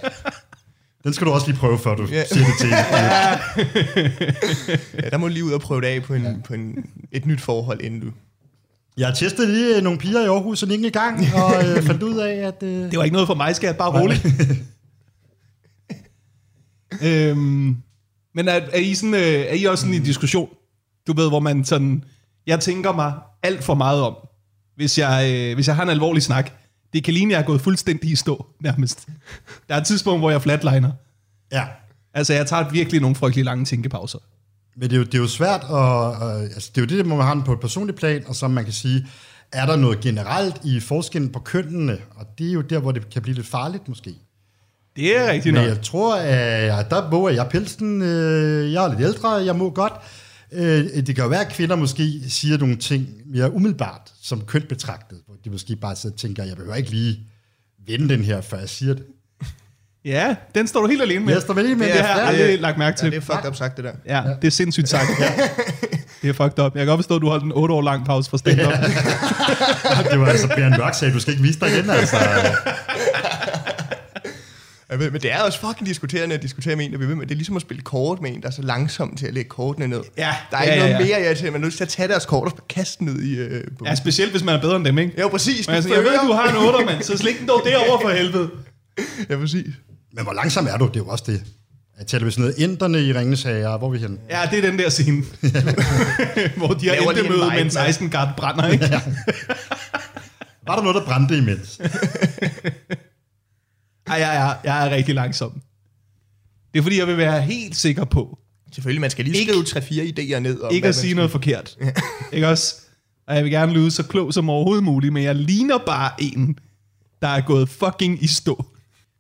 Den skal du også lige prøve, før du
Ja.
yeah. siger det til hende.
ja der må du lige ud og prøve det af på, en, ja. på en, et nyt forhold, inden du...
Jeg har testet lige øh, nogle piger i Aarhus en enkelt gang, og øh, fandt ud af, at... Øh,
Det var ikke noget for mig, skat. Bare roligt. øhm, men er, er, I sådan, øh, er I også sådan i en diskussion? Du ved, hvor man sådan... Jeg tænker mig alt for meget om, hvis jeg, øh, hvis jeg har en alvorlig snak. Det kan ligne, at jeg er gået fuldstændig i stå, nærmest. Der er et tidspunkt, hvor jeg flatliner.
ja.
Altså, jeg tager virkelig nogle frygtelig lange tænkepauser.
Men det er jo, det er jo svært, og, øh, altså, det er jo det, der man har den på et personligt plan, og som man kan sige, er der noget generelt i forskellen på kønnene, og det er jo der, hvor det kan blive lidt farligt måske.
Det er rigtigt
Men
nok.
jeg tror, at der våger jeg pelsen, øh, jeg er lidt ældre, jeg må godt. Øh, Det kan jo være, at kvinder måske siger nogle ting mere umiddelbart, som kønt betragtet, hvor de måske bare sidder og tænker, jeg behøver ikke lige vende den her, før jeg siger det.
Ja, den står du helt alene med.
Jeg står vel lige med
det
det.
har jeg
Ja,
aldrig lagt mærke til.
Ja, det er fucked up sagt, det der.
Ja, det er sindssygt sagt. Det er fucked up. Jeg kan godt forstå, at du holdt en 8 år lang pause fra stand-up.
Det var altså Bjørn Mørk sagde, du skal ikke vise dig igen, altså.
Jeg ved, men det er også fucking diskuterende at diskutere med en, der bliver ved med. Det er ligesom at spille kort med en, der er så langsom til at lægge kortene ned.
Ja,
Der er ikke
ja,
noget
ja, ja.
mere, jeg til. Man er nødt til at tage deres kort og bare kaste den ned i... Øh,
Ja, specielt hvis man er bedre end dem, ikke?
ja, præcis.
Men jeg, sådan, jeg ved, du har en 8 mand, så slik den dog derovre for helvede.
Ja, præcis.
Men hvor langsom er du? Det er jo også det. Jeg taler vi sådan noget inderne i Ringens Herre, hvor er vi henne?
Ja, det er den der scene, hvor de har
Laver lige
endte
en
møde,
vibe,
mens
mand.
16 guard brænder, ikke?
Var der noget, der brændte imens?
Ej, ja, ja, jeg er rigtig langsom. Det er fordi, jeg vil være helt sikker på,
Selvfølgelig, man skal lige
Ikke-
skrive 3-4 idéer ned. Om,
ikke at
hvad man
sige
skal-
noget forkert. Ikke også? Og jeg vil gerne lyde så klog som overhovedet muligt, men jeg ligner bare en, der er gået fucking i stå.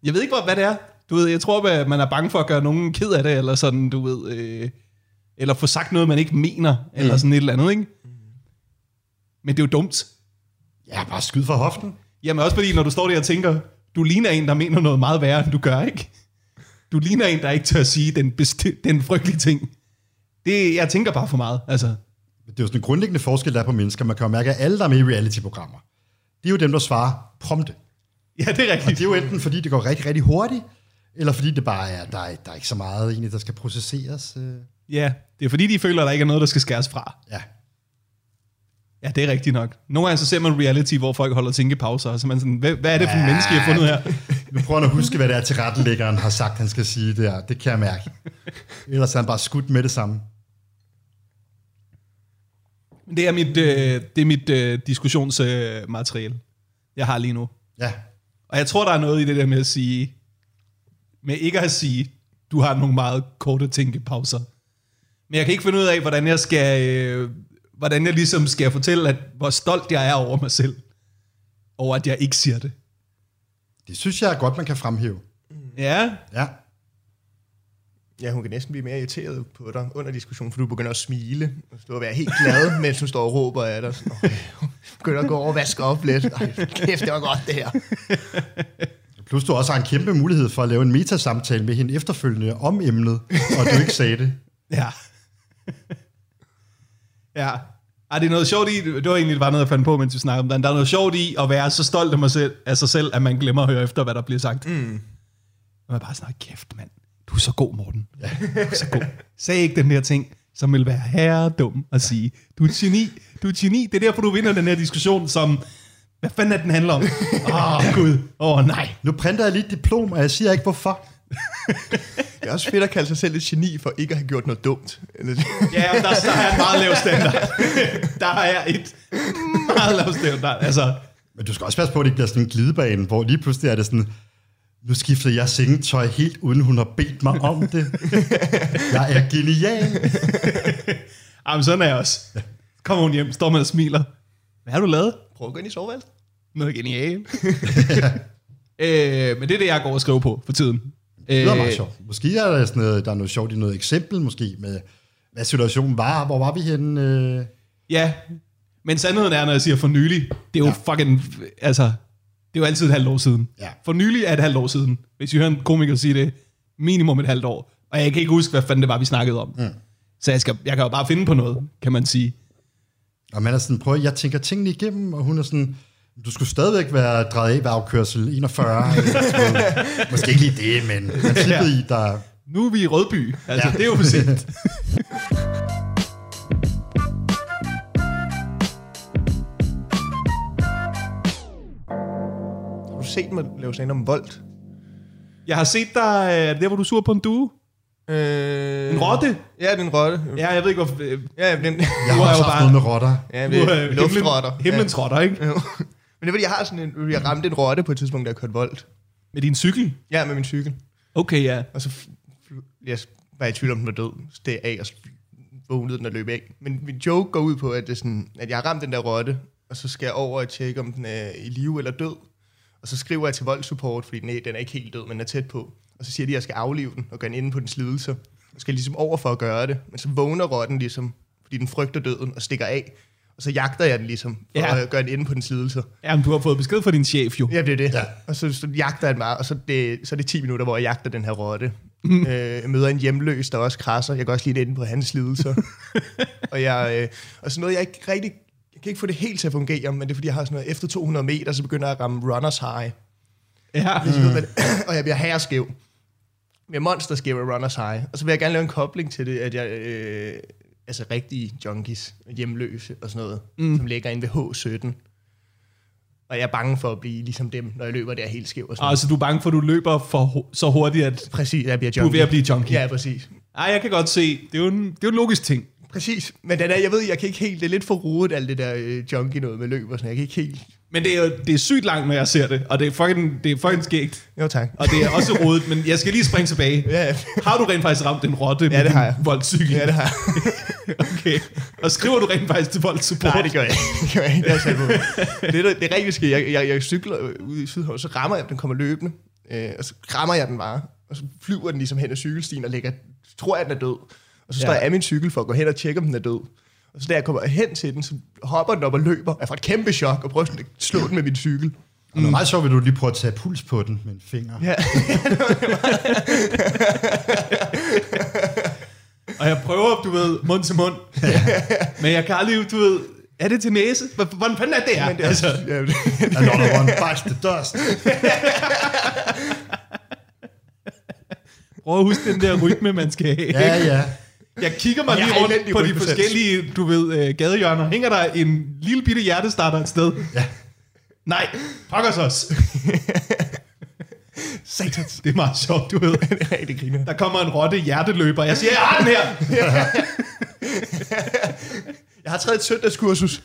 Jeg ved ikke, hvor- hvad det er. Du ved, jeg tror, at man er bange for at gøre nogen ked af det, eller sådan, du ved, øh, eller få sagt noget, man ikke mener, eller
Mm.
sådan et eller andet, ikke? Men det er jo dumt.
Ja, bare skyd fra hoften.
Jamen også fordi, når du står der og tænker, du ligner en, der mener noget meget værre, end du gør, ikke? Du ligner en, der ikke tør sige den, besti- den frygtelige ting. Det, jeg tænker bare for meget, altså.
Det er jo sådan en grundlæggende forskel, der er på mennesker. Man kan jo mærke, at alle, der er med i reality-programmer, det er jo dem, der svarer prompte.
Ja, det er rigtigt.
Det er jo enten, fordi det går rigtig, rigtig hurtigt, eller fordi det bare er, der er, der er ikke så meget egentlig, der skal processeres. øh.
Ja, det er fordi, de føler, at der ikke er noget, der skal skæres fra.
Ja,
Ja, det er rigtigt nok. Nogle gange så ser man reality, hvor folk holder tænkepauser, og så er man sådan, hvad, hvad er det for en menneske, jeg har fundet her?
nu prøver han at huske, hvad det er, tilrettelæggeren har sagt, han skal sige der. Det kan jeg mærke. Ellers er han bare skudt med det samme.
Men Det er mit, øh, det er mit øh, diskussionsmateriale, øh, materiale, jeg har lige nu.
Ja,
Og jeg tror, der er noget i det der med at sige, med ikke at sige, du har nogle meget korte tænkepauser. Men jeg kan ikke finde ud af, hvordan jeg skal, øh, hvordan jeg ligesom skal fortælle, at, hvor stolt jeg er over mig selv. Over, at jeg ikke siger det.
det synes jeg er godt, man kan fremhæve.
Ja,
Ja,
Ja, hun kan næsten blive mere irriteret på dig under diskussionen, for du begynder at smile og stå og være helt glad, mens hun står og råber af dig. Sådan, "Åh, hun begynder at gå over og vaske op lidt. Ej, kæft, det var godt det her.
Plus du også har en kæmpe mulighed for at lave en metasamtale med hende efterfølgende om emnet, og du ikke sagde det.
Ja. ja. Ej, det er noget sjovt i, det var egentlig bare noget, jeg fandt på, mens vi snakkede om det. Der er noget sjovt i at være så stolt af, mig selv, af sig selv, at man glemmer at høre efter, hvad der bliver sagt. Mm. Og man bare sådan, "Hold kæft mand, du er så god, Morten. Ja. Du er så god. Sag ikke den der ting, som vil være herredum at sige. Du er et geni, du er et geni. Det er derfor, du vinder den her diskussion, som, hvad fanden er den handler om? Åh, oh, Gud. Åh, oh, nej.
Nu printer jeg lige et diplom, og jeg siger ikke hvorfor.
Det er også fedt at kalde sig selv et geni for ikke at have gjort noget dumt. Eller,
Ja, men der, der er en meget lav standard. Der er et meget lav standard. Altså,
Men du skal også passe på, at det ikke bliver sådan en glidebane, hvor lige pludselig er det sådan, nu skiftede jeg sengetøj helt uden hun har bedt mig om det. Jeg er genial.
jamen sådan er jeg også. Kommer hun hjem, står man og smiler. Hvad har du lavet?
Prøv at gå ind i soveværelset.
Noget genialt. øh, men det er det, jeg går og skriver på for tiden.
Det lyder meget
Øh,
sjovt. Måske er der, sådan noget, der er noget sjovt i noget eksempel, måske med, hvad situationen var, hvor var vi henne? Øh,
Ja, men sandheden er, når jeg siger for nylig, det er jo ja. fucking, altså, det er jo altid et halvt år siden.
Ja.
For nylig er et halvt år siden. Hvis I hører en komiker sige det, minimum et halvt år. Og jeg kan ikke huske, hvad fanden det var, vi snakkede om. Mm. Så jeg, skal, jeg kan jo bare finde på noget, kan man sige.
Og man er sådan, prøv, jeg tænker tingene igennem, og hun er sådan, du skulle stadigvæk være drejet af ved afkørsel 41. eller sådan noget. Måske ikke lige det, men princippet i, der...
Nu er vi i Rødby. Altså, ja.
Ja.
det er jo præcis.
Har du set mig lave sådan om voldt?
Jeg har set dig, øh, er det der, hvor du sur på en due.
Øh,
En rotte?
Ja, det er en rotte. Ja,
Ja, jeg ved ikke, hvorfor... øh,
ja den...
Jeg
Du
har
er
også
jo
haft
bare-
noget med rotter.
ja,
nu er
det,
himlen-
luftrotter.
Himlen trotter, ikke?
Ja. Jo. Men det er, fordi jeg har sådan en... Jeg ramte en rotte på et tidspunkt, der jeg kørte voldt.
Med din cykel.
Ja, med min cykel.
Okay, ja.
Og så f- f- jeg var i tvivl om, den var død. Så det af, og så vågnede den og løb af. Men min joke går ud på, at, det er sådan, at jeg har ramt den der rotte, og så skal jeg over og tjekke, om den er i live eller død. Og så skriver jeg til voldsupport, fordi nej, den er ikke helt død, men er tæt på. Og så siger de, at jeg skal aflive den og gøre den inde på dens lidelse. Jeg skal ligesom over for at gøre det. Men så vågner rotten ligesom, fordi den frygter døden og stikker af. Og så jagter jeg den ligesom, for
Ja.
ja. at gøre den inde på dens lidelse.
Jamen, du har fået besked fra din chef jo.
Ja, det er det.
Ja.
Ja. Og så, så jagter han mig, og så, det, så er det 10 minutter, hvor jeg jagter den her rotte. Mm. Øh, jeg møder en hjemløs, der også krasser. Jeg går også lige ind på hans lidelser. og, jeg, øh, og sådan noget, jeg ikke rigtig... Jeg kan ikke få det helt til at fungere, men det er, fordi jeg har sådan noget... Efter 200 meter, så begynder jeg at ramme runners high.
Ja.
Mm. og jeg bliver herreskæv. Jeg er monsterskæv af runners high. Og så vil jeg gerne lave en kobling til det, at jeg... Øh, altså rigtige junkies, hjemløse og sådan noget, mm. som ligger inde ved H17. Og jeg er bange for at blive ligesom dem, når jeg løber der helt skæv og sådan noget.
Altså, du er bange for, at du løber for hu- så hurtigt, at...
Præcis, jeg bliver
er
junkie.
ved at blive junkie.
Ja, præcis.
Ej, jeg kan godt se. Det er jo en, det er jo en logisk ting.
Præcis, men den er, jeg ved, jeg kan ikke helt, det er lidt for rodet, alt det der øh, junkie noget med løb og sådan, jeg kan ikke helt...
Men det er jo det er sygt langt, når jeg ser det, og det er fucking, det er fucking skægt.
Jo tak.
Og det er også rodet, men jeg skal lige springe tilbage.
Ja.
Har du rent faktisk ramt en rotte ja, med
det
din
har jeg.
voldcykel?
Ja, det har jeg.
Okay. Og skriver du rent faktisk til voldsupport?
Nej, det gør jeg ikke. Det gør jeg ikke. Det, er jeg selv på. det, der, det er rigtig sker. Jeg, jeg, jeg cykler øh, ude i Sydhavn, så rammer jeg den, kommer løbende, øh, og så rammer jeg den bare, og så flyver den ligesom hen ad cykelstien og ligger, tror jeg, den er død. Og så står
Ja.
jeg af min cykel for at gå hen og tjekke, om den er død. Og så da jeg kommer hen til den, så hopper den op og løber. Jeg får et kæmpe chok og prøver sådan at slå den med min cykel.
Og
Mm.
det er meget sjovt, at du lige prøver at tage puls på den med en finger. Ja.
Og jeg prøver, du ved, mund til mund. Men jeg kan aldrig, du ved, er det til næse? Hvor- Hvordan fanden er det her?
Men det er
altså,
også, ja, det-
Another one bites the dust.
prøv at huske den der rytme, man skal have.
Ja, ja.
Jeg kigger mig
Jeg
lige
har
rundt
elendig
på de
rytmesans.
forskellige, du ved, øh, gadehjørner. Hænger der en lille bitte hjertestarter et sted?
Ja.
Nej, pokkers os. Satans. Det er meget sjovt, du ved.
Ja, det griner.
Der kommer en rotte hjerteløber. Jeg siger, jeg har den her.
Jeg har taget et søndagskursus.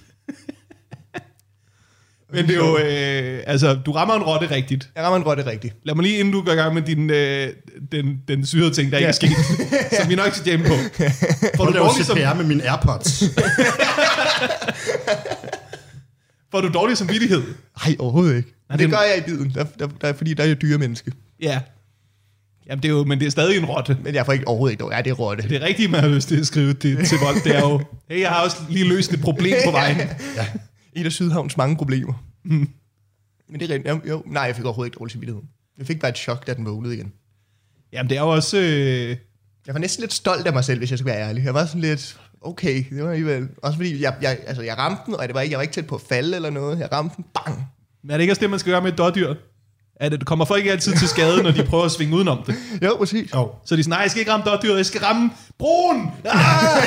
Men det er jo, øh, altså, du rammer en rotte rigtigt.
Jeg rammer en rotte rigtigt.
Lad mig lige, inden du går i gang med din, øh, den, den syrede ting, der ikke er sket, som vi nok skal jamme på. Får
Og
du,
det var
dårlig som,
CPR med mine AirPods.
får du dårlig samvittighed?
Nej, overhovedet ikke. Nej,
det-
det gør jeg i biden, der, der, der, fordi der er jo dyre menneske.
Ja. Jamen, det er jo, men det er stadig en rotte.
Men jeg får ikke overhovedet ikke dårlig. Ja, det er rotte.
Det rigtige, man har lyst til at skrive det til folk, det er jo, hey, jeg har også lige løst et problem på vejen.
Et af Sydhavns mange problemer. Mm. Men det er rent- jo, jo, nej, jeg fik overhovedet ikke dårlig samvittighed. Jeg fik bare et chok, da den vågnede igen.
Jamen, det er jo også... Øh,
Jeg var næsten lidt stolt af mig selv, hvis jeg skal være ærlig. Jeg var sådan lidt, okay, det var alligevel... Også fordi, jeg, jeg, altså, jeg ramte den, og det var ikke, jeg var ikke tæt på at falde eller noget. Jeg ramte den, bang!
men er det ikke også det, man skal gøre med et dårdyr? At det kommer folk ikke altid til skade, når de prøver at svinge udenom det.
Jo, præcis.
Jo.
Så de siger, nej, jeg skal ikke ramme dårdyret, jeg skal ramme broen! Ah!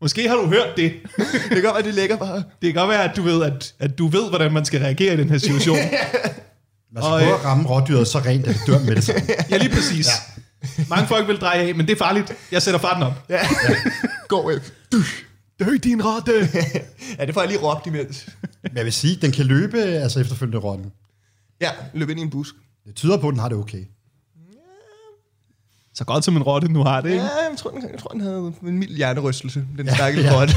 Måske har du hørt det.
Det kan godt være, det ligger bare...
Det kan godt være, at du ved, at, at du ved, hvordan man skal reagere i den her situation.
Man skal
Og,
prøve
øh,
at ramme rådyret så rent, at det dør med det samme.
Ja, lige præcis. Ja. Mange folk vil dreje af, men det er farligt. Jeg sætter farten op.
Ja. Gå væk.
Dø din rotte!
ja, det får jeg lige råbt imens.
Men jeg vil sige, den kan løbe altså efterfølgende rotten.
Ja, løb ind i en busk.
Det tyder på, at den har det okay.
Så godt som en rotte nu har det, ikke?
Ja, jeg tror, den, jeg tror, den havde en mild hjernerystelse, den stakkels ja, ja. rotte.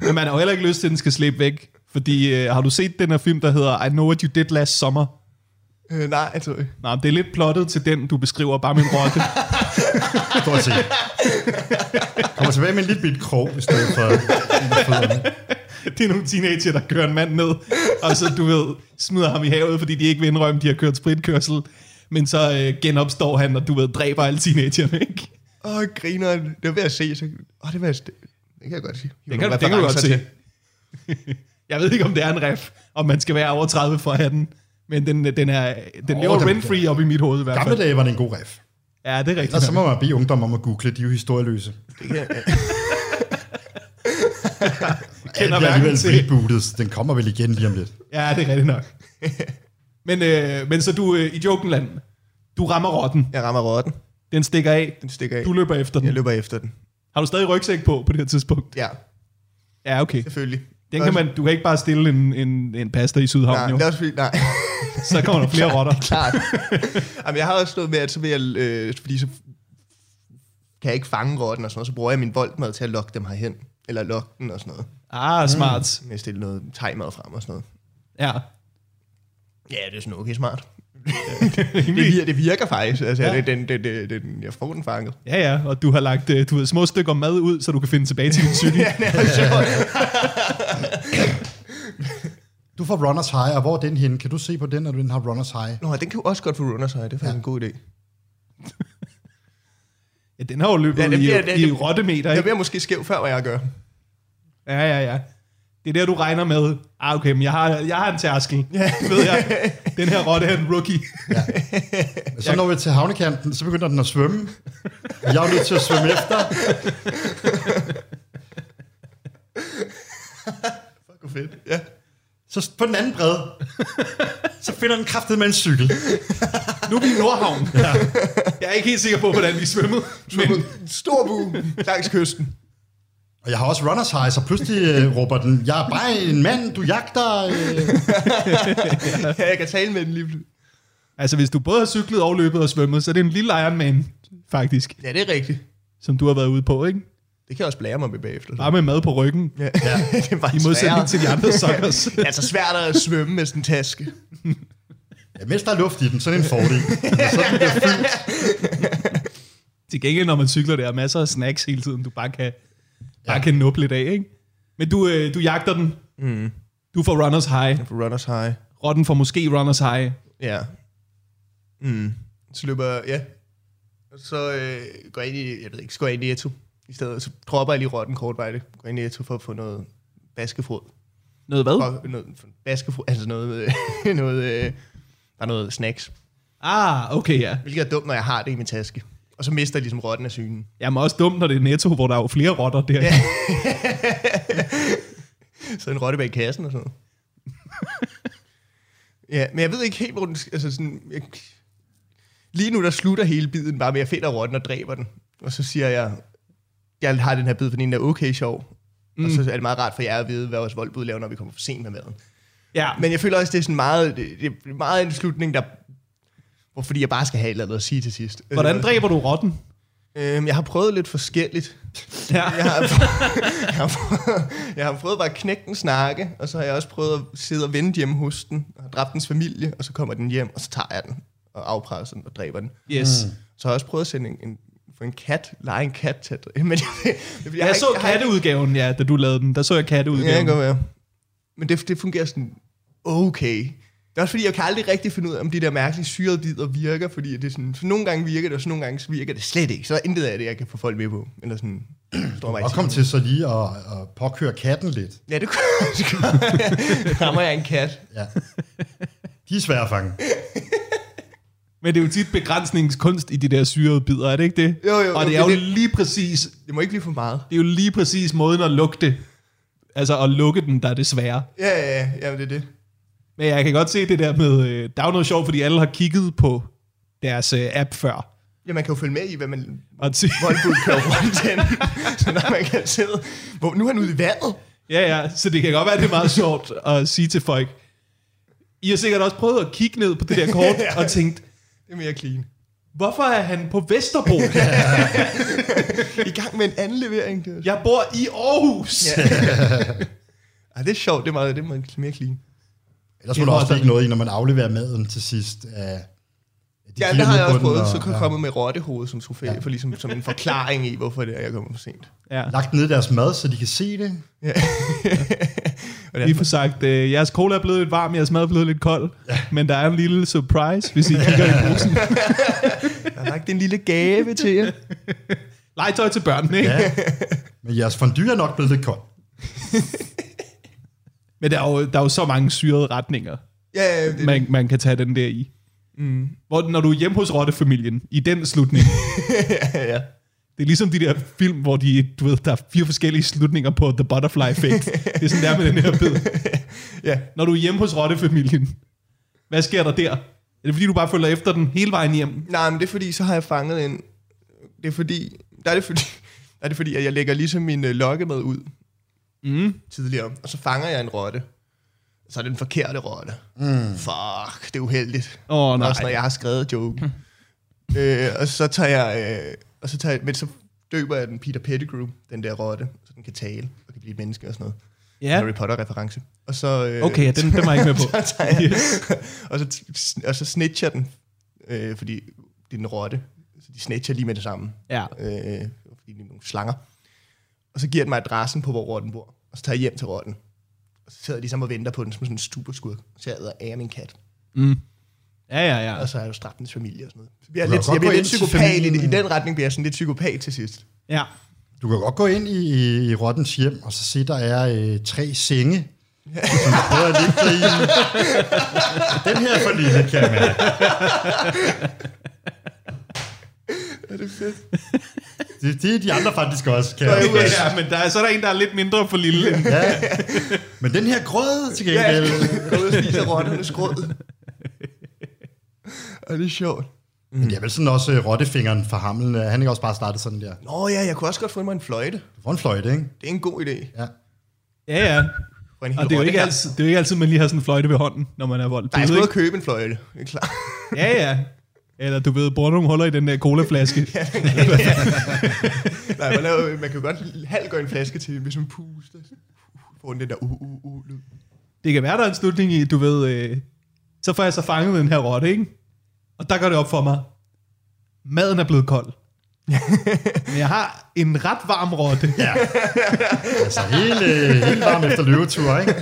Men man har jo heller ikke lyst til, at den skal slippe væk. Fordi øh, har du set den her film, der hedder I Know What You Did Last Summer?
øh, nej, jeg tror ikke.
Nej, men det er lidt plottet til den, du beskriver, bare min rotte.
Stort set. Kommer tilbage med en lille bit krog, i stedet for...
det er nogle teenager, der kører en mand ned, og så, du ved, smider ham i havet, fordi de ikke vil indrømme, de har kørt spritkørsel. Men så øh, genopstår han, og du ved, dræber alle teenagerne, ikke?
Åh, griner. Det var ved at se. Så... Åh, det var det, det kan jeg godt sige.
Det kan, det kan du godt se. jeg ved ikke, om det er en ref, om man skal være over 30 for at have den. Men den, den, er, den
Åh,
lever
den-
rent-free op i mit hoved i hvert
Gamle
fald.
dage var det en god ref.
Ja, det er rigtigt.
Og så må man bede ungdom om at google, de er jo historieløse. Den
kender
bliver
hverken
alligevel
til.
rebootet, så den kommer vel igen lige om lidt.
Ja, det er rigtigt nok. men, øh, men så du øh, i Jokenland, du rammer rotten.
Jeg rammer rotten.
Den stikker af.
Den stikker af.
Du løber efter den.
Jeg løber efter den.
Har du stadig rygsæk på på det her tidspunkt?
Ja,
Ja, okay.
selvfølgelig.
Den kan man, du kan ikke bare stille en, en, en pasta i Sydhavn,
Nej,
jo.
det er også fordi, nej.
Så kommer der flere rotter.
Klart. Jamen, jeg har også noget med, at så vil jeg, øh, fordi så kan jeg ikke fange rotten og sådan noget, så bruger jeg min voldmad til at lokke dem herhen. Eller lokke den og sådan noget.
Ah, smart.
Med at stille noget tegmad frem og sådan noget.
Ja.
Ja, det er sådan okay smart. det, virker, det virker faktisk. Altså,
Ja.
ja. den, den, den, den, jeg får den fanget.
Ja, ja, og du har lagt øh, du ved, små stykker mad ud, så du kan finde tilbage til din cykel.
Du får Runners High, og hvor er den henne? Kan du se på den, når den har Runners High?
Nå, den kan jo også godt få runners high. Det er faktisk ja. en god idé.
Ja, den har jo løbet
Ja,
ja,
den
i,
bliver- den-
i
den-
rottemeter,
Jeg
ikke?
bliver måske skæv før, hvad jeg gør.
Ja, ja, ja. Det er der, du regner med. Ah, okay, men jeg har, jeg har en tærskel. Ja. Ved jeg. Den her rotte er en rookie.
Så når vi til havnekanten, så begynder den at svømme. Og jeg er nødt til at svømme efter.
Fuck, hvor fedt. Ja.
Så på den anden bred, så finder den kraftet med en cykel.
Nu er vi i Nordhavn. Ja. Jeg er ikke helt sikker på, hvordan vi svømmede. Men
Men, stor bue langs kysten.
Og jeg har også Runners High, så pludselig øh, råber den, jeg er bare en mand, du jagter. Øh.
Ja, jeg kan tale med den lige pludselig.
altså, hvis du både har cyklet og løbet og svømmet, så er det en lille Ironman, faktisk,
Ja, det er rigtigt.
som du har været ude på, ikke?
Det kan jeg også blære mig med bagefter.
Bare med mad på ryggen.
Ja. ja. det er bare
I modsætning til de andre suckers.
Det er altså svært at svømme med sådan en taske.
Ja, mens der er luft i den, så er det en fordel.
til gengæld, når man cykler, der er masser af snacks hele tiden, du bare kan, bare kan nuppe lidt af, ikke? Men du, øh, du jagter den. Mm. Du får runners high.
For runners high.
Rotten får måske runners high.
Ja. Mm. Så løber jeg, ja. Og så øh, går jeg ind i, jeg ved ikke, så går jeg ind i Netto. I stedet, så dropper jeg lige rotten kortvejligt. Går ind i Netto for at få noget baskefod.
Noget hvad?
For, noget baskefod, altså noget, øh, noget, øh, bare noget snacks.
Ah, okay, ja.
Hvilket er dumt, når jeg har det i min taske. Og så mister jeg ligesom rotten af synen.
Jamen også dumt, når det er netto, hvor der er jo flere rotter der. Ja.
Så en rotte bag kassen og sådan noget. ja, men jeg ved ikke helt, hvor den... sk- Altså sådan, jeg, lige nu, der slutter hele biden bare med, at jeg finder rotten og dræber den. Og så siger jeg, jeg har den her bid, fordi den er okay sjov. Mm. Og så er det meget rart for jer at vide, hvad vores voldbud laver, når vi kommer for sent med maden.
ja. Men,
Men jeg føler også, det er sådan meget, det, det er meget en slutning, der... hvor- Fordi jeg bare skal have et eller andet at sige til sidst. Øh,
Hvordan dræber du rotten?
Øhm, jeg har prøvet lidt forskelligt.
Ja.
Jeg har, prøvet, jeg, har prøvet, jeg har prøvet bare at knække den snakke, og så har jeg også prøvet at sidde og vente hjemme hos den, og har dræbt dens familie, og så kommer den hjem, og så tager jeg den, og afpresser den, og dræber den.
Yes. Mm.
Så har jeg også prøvet at sende en, en få en kat, lege en kat til at dræbe. Men jeg, jeg,
Jeg, jeg så katteudgaven, ja, da du lavede den. Der så jeg
Ja, det
katteudgaven.
kan godt være. Men det, det fungerer sådan okay. Det er også fordi, jeg kan aldrig rigtig finde ud af, om de der mærkelige syrede bidder virker, fordi det er sådan, så nogle gange virker det, og så nogle gange virker det slet ikke. Så er intet af det, jeg kan få folk med på. Eller sådan, står mig i
Og kom til så lige at, at påkøre katten lidt.
Ja, det kunne det kunne- Rammer jeg en kat?
Ja. De er svære at fange.
Men det er jo tit begrænsningskunst i de der syrede bidder, er det ikke det?
Jo, jo,
Og
jo,
det er jo
det er
lige præcis
Det må ikke blive for meget.
Det er jo lige præcis måden at lukke det. Altså at lukke den, der er det svære.
Ja, ja, ja, jamen, det er det.
Men jeg kan godt se det der med, øh, der er jo noget sjovt, fordi alle har kigget på deres øh, app før.
Ja, man kan jo følge med i, hvad man...
Og t-
Voldbud kører rundt hen. så når man kan sidde... Hvor, nu er han ude i vandet.
ja, ja, så det kan godt være, det er meget sjovt at sige til folk. I har sikkert også prøvet at kigge ned på det der kort
Ja.
og tænkt,
Det er mere clean.
hvorfor er han på Vesterbro?
I gang med en anden levering. Det er,
Jeg bor i Aarhus. Ja.
Ej, det er sjovt. Det er, meget, det er meget- mere clean.
Ellers må
Det
du
er
også
også
ligge noget i, når man afleverer maden til sidst. Uh, de
Ja,
kigger
det har
ned på
jeg også
den,
prøvet.
og-
Så kan jeg
ja.
komme med rottehovedet som trofæ, ja. for ligesom som en forklaring i, hvorfor det er, jeg kommer for sent.
ja.
Lagt ned i deres mad, så de kan se det.
Ja. og
Lige for sagt, øh, jeres cola er blevet lidt varm, jeres mad er blevet lidt kold, ja. men der er en lille surprise, hvis I kigger i posen.
jeg har lagt en lille gave til jer.
Legetøj til børnene, ikke?
Ja.
Ja.
Men jeres fondue er nok blevet lidt kold.
Men der er, jo, der er jo så mange syrede retninger,
Ja, ja, det,
man, man kan tage den der i. Mm. Hvor, når du er hjemme hos rottefamilien, i den slutning,
ja, ja.
det er ligesom de der film, hvor de, du ved, der er fire forskellige slutninger på The Butterfly Effect. det er sådan, der med den her bid.
Ja.
Når du er hjemme hos rottefamilien, hvad sker der der? Er det fordi, du bare følger efter den hele vejen hjem?
Nej, men det er fordi, så har jeg fanget en... Det er fordi... Der er det fordi, der er det fordi at jeg lægger ligesom min øh, lokkemad ud
Mm.
tidligere, og så fanger jeg en rotte. Så er det den forkerte rotte. Mm. Fuck, det er uheldigt.
Åh, nej.
Også når jeg har skrevet joken. øh, og så tager jeg... Øh, og så tager jeg, men så døber jeg den Peter Pettigrew, den der rotte, så den kan tale og kan blive et menneske og sådan noget.
Ja.
En Harry Potter-reference. Og så... Øh,
Okay, ja, den, den var jeg ikke med på.
så tager jeg, og, så, og så snitcher den, øh, fordi det er en rotte. Så de snitcher lige med det samme.
Ja.
Øh, fordi de er nogle slanger. Og så giver den mig adressen på, hvor rotten bor. Og så tager jeg hjem til rotten. Og så sidder de sammen og venter på den som sådan en stuberskud. Så jeg æder af min kat.
Ja, ja, ja.
Og så har jeg jo straffet dens familie og sådan noget. Så bliver jeg,
Du kan
lidt,
godt
jeg bliver
gå
lidt
ind til
psykopat. I,
familien,
I den retning bliver jeg sådan lidt psykopat til sidst.
ja.
Du kan godt gå ind i, i Rottens hjem, og så se, der er øh, tre senge. Som du prøver at ligge i. Den her er for lille, kan jeg mærke.
Er det fedt?
Det, det er de andre faktisk også, kan jeg
Ja,
mærke.
Ja, men der er, så er der en, der er lidt mindre for lille. end-
Ja. Men den her grød til
Ja,
gengæld...
gå ud og spise rotternes grød. Og det er sjovt.
Men det er vel sådan også øh, rottefingeren fra Hamlen. øh, Han er ikke også bare startet sådan der.
Nå ja, jeg kunne også godt få mig en fløjte.
Du får en fløjte, ikke?
Det er en god idé.
Ja.
Ja, ja.
For en hel
Og det er, jo
rotte
ikke
her.
altid, det er jo ikke altid, man lige har sådan en fløjte ved hånden, når man er vold.
Nej, jeg
Du
skal
ved
ud og købe en fløjte. Det er klart.
ikke- Ja, ja. Eller du ved, bruger nogle huller i den der colaflaske.
Nej, man, laver, man kan jo godt halvgøre en flaske til, hvis man puster. Uh, Får den den der uh, uh, uh, lyd.
Det kan være, der er en slutning i, du ved, øh, så får jeg så fanget den her rotte, ikke? Og der går det op for mig. Maden er blevet kold. Men jeg har en ret varm rotte.
ja. Altså helt, øh, helt varm efter løvetur, ikke?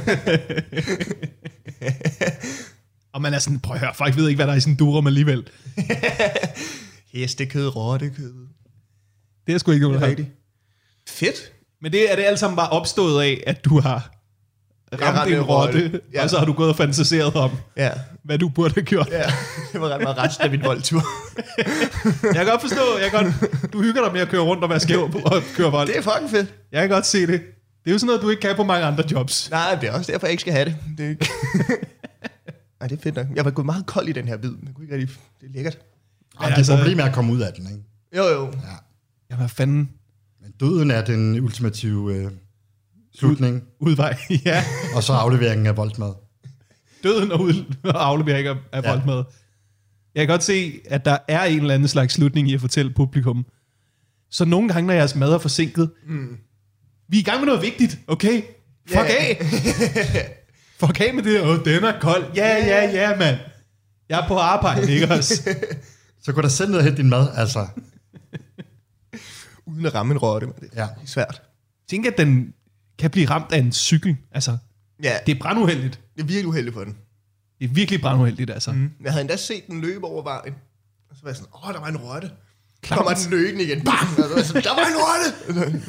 Og man er sådan, prøv at høre, folk ved ikke, hvad der er i sådan en durum alligevel.
Hestekød, rottekød.
Det er sgu ikke noget.
er
der-
rigtigt. Fedt.
Men det er det alt sammen bare opstået af, at du har ramt,
ramte
en
en
rotte, Altså-
rotte.
ja.
Ja.
og så har du gået og fantaseret om,
Ja.
hvad du burde have gjort.
ja. Det var ret meget resten af min voldtur.
Jeg kan godt forstå, jeg kan godt, du hygger dig med at køre rundt og være skæv på- og køre vold.
Det er fucking fedt.
Jeg kan godt se det. Det er jo sådan noget, du ikke kan på mange andre jobs.
Nej, det er også derfor, jeg ikke skal have det. det er ikke... Ej, det er fedt nok. Jeg var gået meget kold i den her hvid. Jeg kunne ikke rigtig... Det er lækkert.
Ej, det
altså-
er problemet er at komme ud af den, ikke?
Jo, jo.
Ja.
Ja, hvad fanden?
Men døden er den ultimative øh, slutning,
Udvej. ja,
og så afleveringen af voldmad.
døden og, ud, og aflevering af- af
Ja.
vold med. Jeg kan godt se, at der er en eller anden slags slutning i at fortælle publikum. Så nogle gange, når jeres mad er forsinket, mm. vi er i gang med noget vigtigt, okay? Fuck
Ja.
af! Fuck af med det, åh, den er kold. Ja, ja, ja, mand. Jeg er på arbejde, ikke også?
Så gå der selv ned og hente din mad, altså.
Uden at ramme en rotte. Men det
Ja.
er ja. svært.
Tænk, at den kan blive ramt af en cykel. Altså,
Ja, det,
det er branduheldigt.
det er virkelig uheldigt for den.
Det er virkelig branduheldigt, altså. Mm.
Jeg havde endda set den løbe over vejen. Og så var jeg sådan, åh, der var en rotte. Så
Klamt.
kommer den løbende igen. Bang! Og så var jeg sådan, der var en rotte!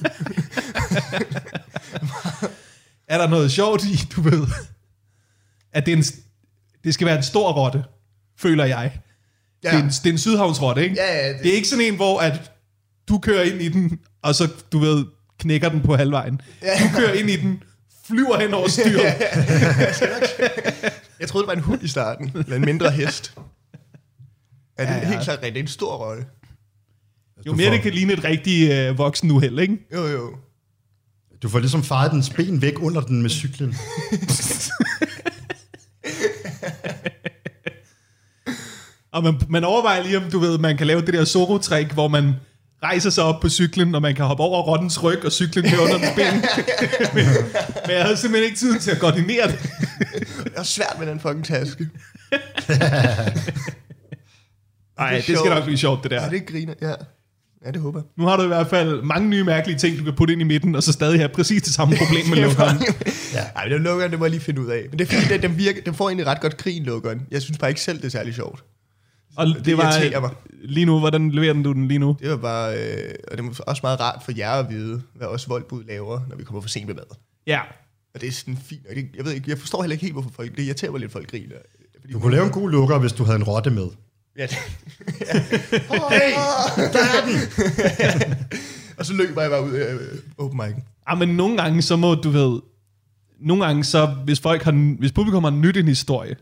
Er der noget sjovt i, du ved? At det, er en, det skal være en stor rotte, føler jeg. Ja.
Ja,
Det, er en, det er en sydhavnsrotte, ikke?
Ja, ja,
det...
det-
det er ikke sådan en, hvor at du kører ind i den, og så, du ved, knækker den på halvvejen. Ja. Du kører ind i den, flyver hen over styret.
Jeg troede, det var en hund i starten, eller en mindre hest. Ja, det er helt klart rigtigt. Det er en stor rolle.
Jo mere det kan ligne et rigtigt øh, voksen uheld, ikke?
Jo, jo.
Du får ligesom faret dens ben væk under den med cyklen.
Og man, man overvejer lige, om du ved, man kan lave det der Zorro-trick, hvor man rejser sig op på cyklen, og man kan hoppe over rottens ryg, og cyklen bliver under den ben. men, men jeg havde simpelthen ikke tid til at koordinere det.
Det er svært med den fucking taske.
Nej,
Det er
det, det skal
sjovt.
nok blive sjovt, det der.
Ja, det griner. Ja. ja, det håber jeg.
Nu har du i hvert fald mange nye mærkelige ting, du kan putte ind i midten, og så stadig have præcis det samme problem med lukkeren.
ja. Ej, men den lukkeren, det må jeg lige finde ud af. Men det er fordi, den, den, virker, den får egentlig ret godt krig, lukkeren. Jeg synes bare ikke selv, det er særlig sjovt.
Og det, det
irriterer mig.
var lige nu, hvordan leverer den du den lige nu?
Det var bare, øh, og det er også meget rart for jer at vide, hvad også voldbud laver, når vi kommer for sent med mad.
Ja.
Og det er sådan fint. Og det, jeg ved ikke, jeg forstår heller ikke helt, hvorfor folk, det irriterer mig lidt, folk griner. Fordi,
Du kunne lave en god lukker, hvis du havde en rotte med.
Ja, det, ja. Hey, der er den! og så løber jeg bare ud af øh, open mic'en.
Ah, men nogle gange, så må du ved... Nogle gange, så hvis, folk har, hvis publikum har nyt en historie,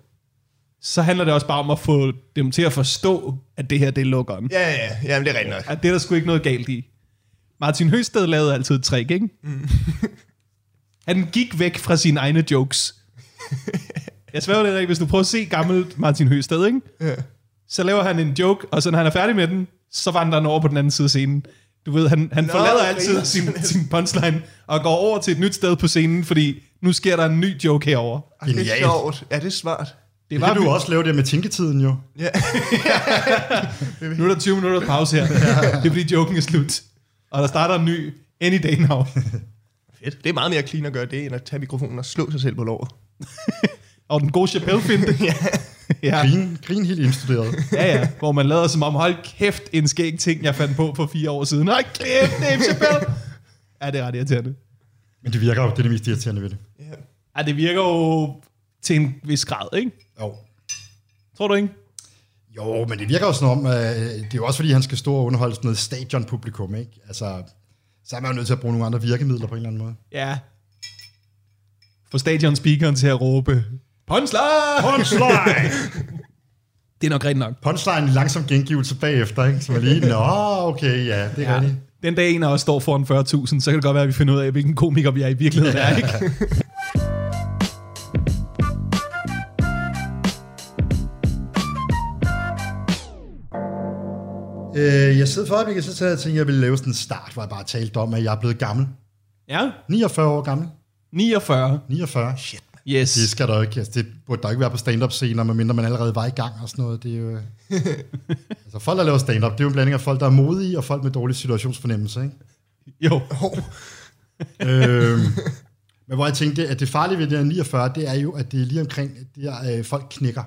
så handler det også bare om at få dem til at forstå, at det her, det er lukkeren.
Ja, ja, ja, jamen, det er rigtigt nok.
At det er der sgu ikke noget galt i. Martin Høsted lavede altid et trick, ikke? Mm. Han gik væk fra sine egne jokes. Jeg sværger det ikke, hvis du prøver at se gammelt Martin Høsted, ikke?
Ja.
Så laver han en joke, og så når han er færdig med den, så vandrer han over på den anden side af scenen. Du ved, han, han forlader altid
griner.
sin, sin punchline og går over til et nyt sted på scenen, fordi nu sker der en ny joke herover.
Ej, det er
Genialt.
sjovt. Ja, det er smart.
Det
Det
var,
kan du også lave det med tænketiden jo.
Ja.
nu er der 20 minutter pause her. Det er fordi joken er slut. Og der starter en ny any day now.
Fedt. Det er meget mere clean at gøre det, end at tage mikrofonen og slå sig selv på låret.
Og den gode Chappelle-finte. ja. ja.
Grin, grin helt indstuderet.
ja, ja. Hvor man lader som om, hold kæft, en skæg ting, jeg fandt på for fire år siden. Hold kæft, det er Chappelle. ja, det er ret irriterende.
Men det virker jo, det er det mest irriterende ved det.
Ja.
Ja, det virker jo til en vis grad, ikke?
Jo.
Tror du ikke?
Jo, men det virker jo sådan om, øh, det er jo også fordi, han skal stå og underholde sådan noget stadionpublikum, ikke? Altså, så er man jo nødt til at bruge nogle andre virkemidler på en eller anden måde.
Ja. Få stadion speakeren til at råbe, Punchline!
Punchline!
Det er nok rigtigt nok.
Punchline i langsom gengivelse bagefter, ikke? Så man lige, nå, okay, ja, det er ja. rigtigt.
Den dag en af os står foran 40.000, så kan det godt være, at vi finder ud af, hvilken komiker vi er i virkeligheden er, ikke?
Øh, jeg sidder for øjeblikket, så sad jeg og tænkte, at jeg ville lave sådan en start, hvor jeg bare talte om, at jeg er blevet gammel.
Ja,
49 år gammel.
49.
49. Shit.
Yes.
Det skal der jo ikke, altså, det burde der ikke være på stand-up scener, medmindre man allerede var i gang og sådan noget. Det er jo... altså folk, der laver stand-up, det er jo en blanding af folk, der er modige og folk med dårlig situationsfornemmelse, ikke?
Jo.
øhm, men hvor jeg tænkte, at det farlige ved det her 49, det er jo, at det er lige omkring, at det er, øh, folk knikker.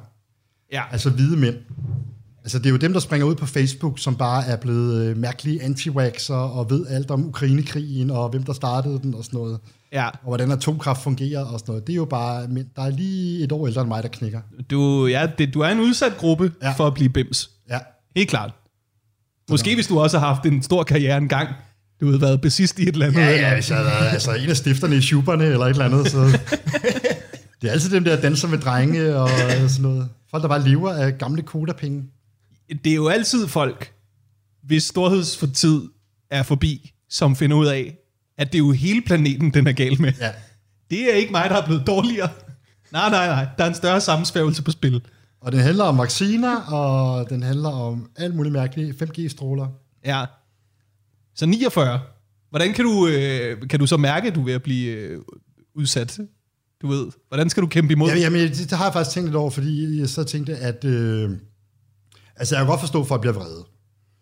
Ja.
Altså hvide mænd. Altså det er jo dem, der springer ud på Facebook, som bare er blevet øh, mærkelige anti og ved alt om Ukrainekrigen, og hvem der startede den og sådan noget.
Ja.
Og hvordan atomkraft fungerer og sådan noget. Det er jo bare mænd, der er lige et år ældre end mig, der knikker.
Du, ja, det, du er en udsat gruppe ja.
Ja.
for at blive bims.
Ja,
Helt klart. Måske hvis du også har haft en stor karriere engang. Du har været bassist i et eller andet.
ja,
eller-
ja hvis jeg havde været altså, en af stifterne i Schuberne eller et eller andet, så... Det er altid dem der danser med drenge og øh, sådan noget. Folk, der bare lever af gamle kodapenge.
Det er jo altid folk, hvis storheds for tid er forbi, som finder ud af, at det er jo hele planeten, den er gal med.
Ja.
Det er ikke mig, der er blevet dårligere. Nej, nej, nej. Der er en større sammensværgelse på spil.
Og den handler om vacciner, og den handler om alt muligt mærkeligt. 5G-stråler.
Ja. Så 49. Hvordan kan du, øh, kan du så mærke, at du er ved at blive øh, udsat? Du ved, hvordan skal du kæmpe imod?
Jamen, jamen det, det har jeg faktisk tænkt lidt over, fordi jeg så tænkte, at... Øh, altså, jeg kan godt forstå, at folk bliver vrede.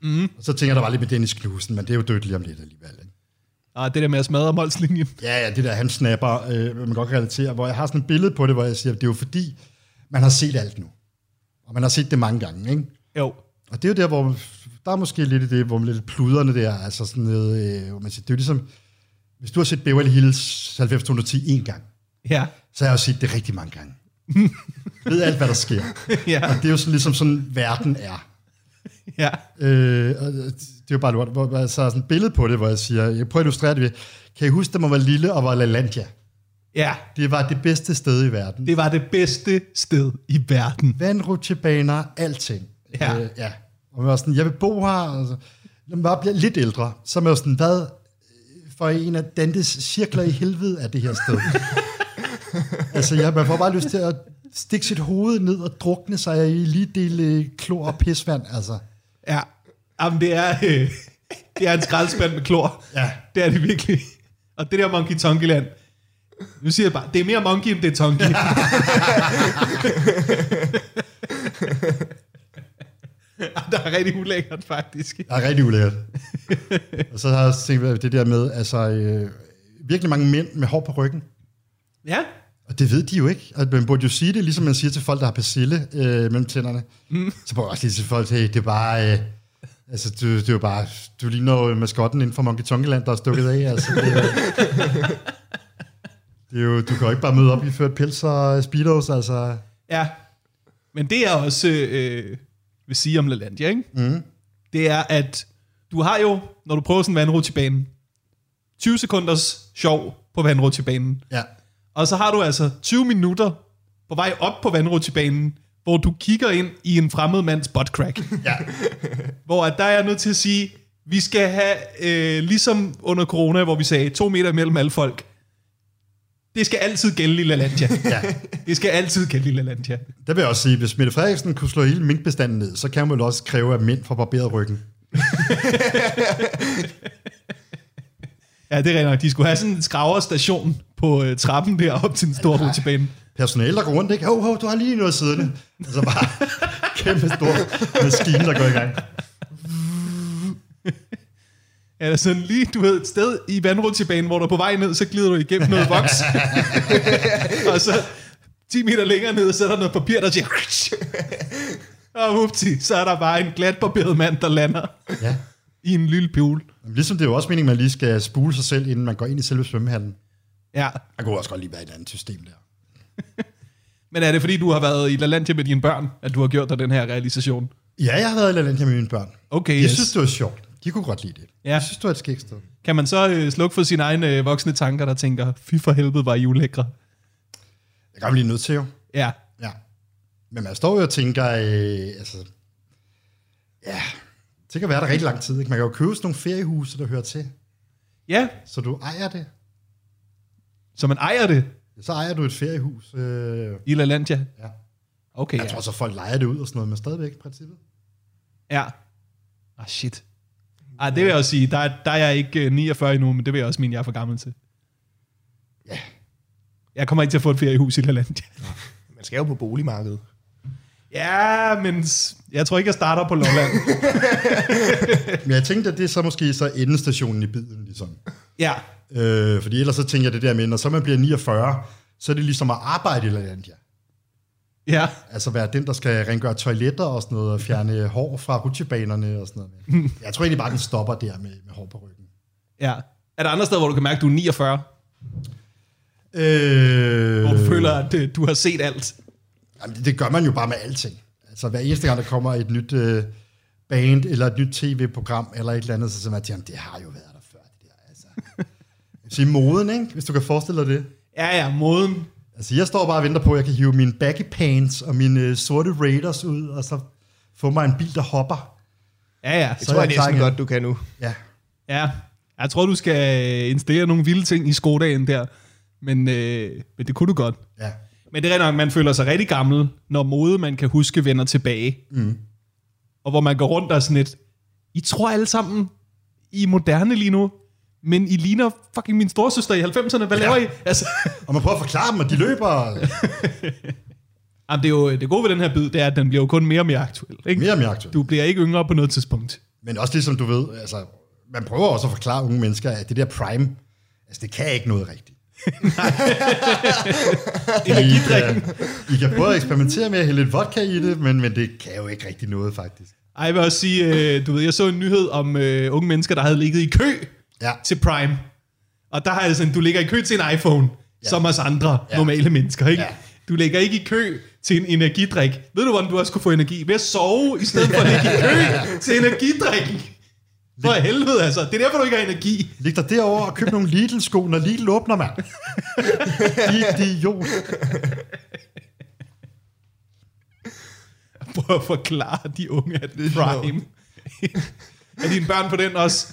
Mm. Og så tænker jeg, der var lidt med Dennis Knudsen, men det er jo dødt lige om lidt alligevel. Ikke?
Ah, det der med at smadre målslinjen.
Ja, ja, det der, han snapper, øh, hvad man godt kan relatere, hvor jeg har sådan et billede på det, hvor jeg siger, at det er jo fordi, man har set alt nu. Og man har set det mange gange, ikke?
Jo.
Og det er jo der, hvor der er måske lidt i det, hvor man lidt pluderne der, altså sådan noget, øh, hvor man siger, det er jo ligesom, hvis du har set Beverly Hills 90210 en gang,
Ja.
så har jeg jo set det rigtig mange gange. Jeg ved alt, hvad der sker.
ja.
Og det er jo sådan, ligesom sådan, verden er.
Ja.
Øh, og det det er jo bare lort. Hvor, hvor- så er sådan et billede på det, hvor jeg siger, jeg prøver at illustrere det ved, kan I huske, da man var lille og var LaLandia?
Ja,
Det var det bedste sted i verden.
det var det bedste sted i verden.
vandrutsjebaner, alting.
Ja.
Øh, ja. Og man var sådan, jeg vil bo her. Altså, når man bare bliver lidt ældre, så er man jo sådan, hvad for en af Dantes cirkler i helvede er det her sted? altså, ja, man får bare lyst til at stikke sit hoved ned og drukne sig i lige dele øh, klor og pisvand, altså.
Ja. Jamen, det er, øh, det er en skraldespand med klor.
Ja.
Det er det virkelig. Og det der Monkey Tonky Land. Nu siger jeg bare, det er mere monkey, end det er tonky. Ej, der er rigtig ulækkert, faktisk.
Det er rigtig ulækkert. og så har jeg også tænkt det der med, altså, øh, virkelig mange mænd med hår på ryggen.
Ja.
Og det ved de jo ikke. Og man burde jo sige det, ligesom man siger til folk, der har persille øh, mellem tænderne. Mm. Så burde man også lige til folk, hey, det er bare... Øh, altså, du, det er jo bare... Du ligner jo maskotten inden for Monkey Tonky Land, der er stukket af. Altså, det, er, det er jo, du kan jo ikke bare møde op i ført pels og øh, speedos, altså...
Ja. Men det er også, øh, vil sige om LaLandia, ikke? Mm. Det er, at du har jo, når du prøver sådan en vandrutsjebane, 20 sekunders sjov på vandrutsjebanen.
Ja.
Og så har du altså 20 minutter på vej op på vandrutsjebanen, hvor du kigger ind i en fremmed mands buttcrack.
Ja.
hvor at der er jeg nødt til at sige, vi skal have, øh, ligesom under corona, hvor vi sagde, to meter imellem alle folk. Det skal altid gælde i LaLandia.
ja.
det skal altid gælde i LaLandia.
Der vil jeg også sige, hvis Mette Frederiksen kunne slå hele minkbestanden ned, så kan man vel også kræve, at mænd får barberet ryggen.
Ja, det er rent nok. De skulle have sådan en skraverstation på øh, trappen der op til den store rutsjebane.
Personale, der går rundt, ikke? Hov, hov, du har lige noget siddende. Altså bare kæmpe stor maskine, der går i gang.
Ja, der er sådan lige, du ved, et sted i vandrutsjebanen, hvor du er på vej ned, så glider du igennem noget voks. og så 10 meter længere ned, så er der noget papir, der siger... Og upti, så er der bare en glat barberet mand, der lander
Ja.
i en lille pjul.
Jamen, Ligesom det er jo også meningen, at man lige skal spule sig selv, inden man går ind i selve svømmehallen.
Ja,
Man kunne også godt lige være i et andet system der.
men er det fordi, du har været i LaLandia med dine børn, at du har gjort dig den her realisation?
Ja, jeg har været i LaLandia med mine børn.
Okay,
Jeg
yes.
synes, det var sjovt. De kunne godt lide det.
Ja.
Jeg synes, det var et skægt sted.
Kan man så øh, slukke for sine egne øh, voksne tanker, der tænker, fy for helvede, var I ulækre?
Jeg kan blive nødt til jo.
Ja,
Ja. Men man står jo og tænker, øh, altså, ja, det kan være der rigtig lang tid. Ikke? Man kan jo købe sådan nogle feriehuse, der hører til.
ja
Så du ejer det.
så man ejer det
Så ejer du et feriehus. Øh,
i LaLandia.
ja.
Okay,
Jeg tror så, folk leger det ud og sådan noget, men stadigvæk i princippet.
Ja. Ah, shit. Ah, det vil jeg også sige. Der, er- der er jeg ikke øh, 49 endnu, men det vil jeg også mene, jeg er for gammel til.
Ja.
Jeg kommer ikke til at få et feriehus i Lalandia.
Man skal jo på boligmarkedet.
Ja, men s- jeg tror ikke, jeg starter på Lolland.
Men jeg tænkte, at det er så måske så endestationen i biden, ligesom.
ja.
Øh, fordi ellers så tænker jeg det der med, når så man bliver 49, så er det ligesom at arbejde i Lalandia.
Ja.
Altså være den, der skal rengøre toiletter og sådan noget, og fjerne hår fra rutsjebanerne og sådan noget. Jeg tror egentlig bare, den stopper der med, med hår på ryggen.
ja. Er der andre steder, hvor du kan mærke, at du er 49?
Øh,
Hvor du føler, at øh, du har set alt?
Jamen, det, det gør man jo bare med alting. Altså hver eneste gang, der kommer et nyt øh, band, eller et nyt tv-program, eller et eller andet, så siger man, jamen det har jo været der før. Det der, altså. Sige moden, ikke? hvis du kan forestille dig det.
Ja, ja, moden.
Altså, jeg står bare og venter på, at jeg kan hive mine baggy pants og mine øh, sorte Raiders ud, og så få mig en bil, der hopper.
Ja, ja.
Det
Så,
Så
tror
er
jeg
jeg klar
næsten
igen.
godt, du kan nu.
Ja.
ja. Jeg tror, du skal øh, installere nogle vilde ting i skodagen der. Men, øh, men det kunne du godt.
Ja.
Men det er rigtigt nok, man føler sig rigtig gammel, når mode, man kan huske, vender tilbage. Mm. Og hvor man går rundt og er sådan lidt, I tror alle sammen, I er moderne lige nu, men I ligner fucking min storsøster i 90'erne. Hvad ja. laver I? Altså,
Og man prøver at forklare dem, og de løber
jamen, det, er jo, det gode ved den her bid, det er, at den bliver jo kun mere og mere aktuel. Ikke?
mere og mere aktuelt.
Du bliver ikke yngre på noget tidspunkt.
Men også ligesom du ved, altså, man prøver også at forklare unge mennesker, at det der prime, altså det kan ikke noget rigtigt. I, kan, I kan prøve at eksperimentere med at hælde lidt vodka i det, men, men det kan jo ikke rigtig noget, faktisk.
Ej, jeg vil også sige, øh, du ved, jeg så en nyhed om øh, unge mennesker, der havde ligget i kø
Ja.
til Prime. Og der har jeg sådan, du ligger i kø til en iPhone, ja. som os andre ja. normale mennesker, ikke? Ja.
Ja.
Du ligger ikke i kø til en energidrik. Ved du, hvordan du også kunne få energi? Ved at sove, i stedet for at ligge i kø til energidrikken. For helvede altså, det er derfor, du ikke har energi.
Læg dig derover og køb nogle Lidl-sko, når Lidl åbner, mand. Idiot.
Prøv at forklare de unge, at det er prime. er dine børn på den også?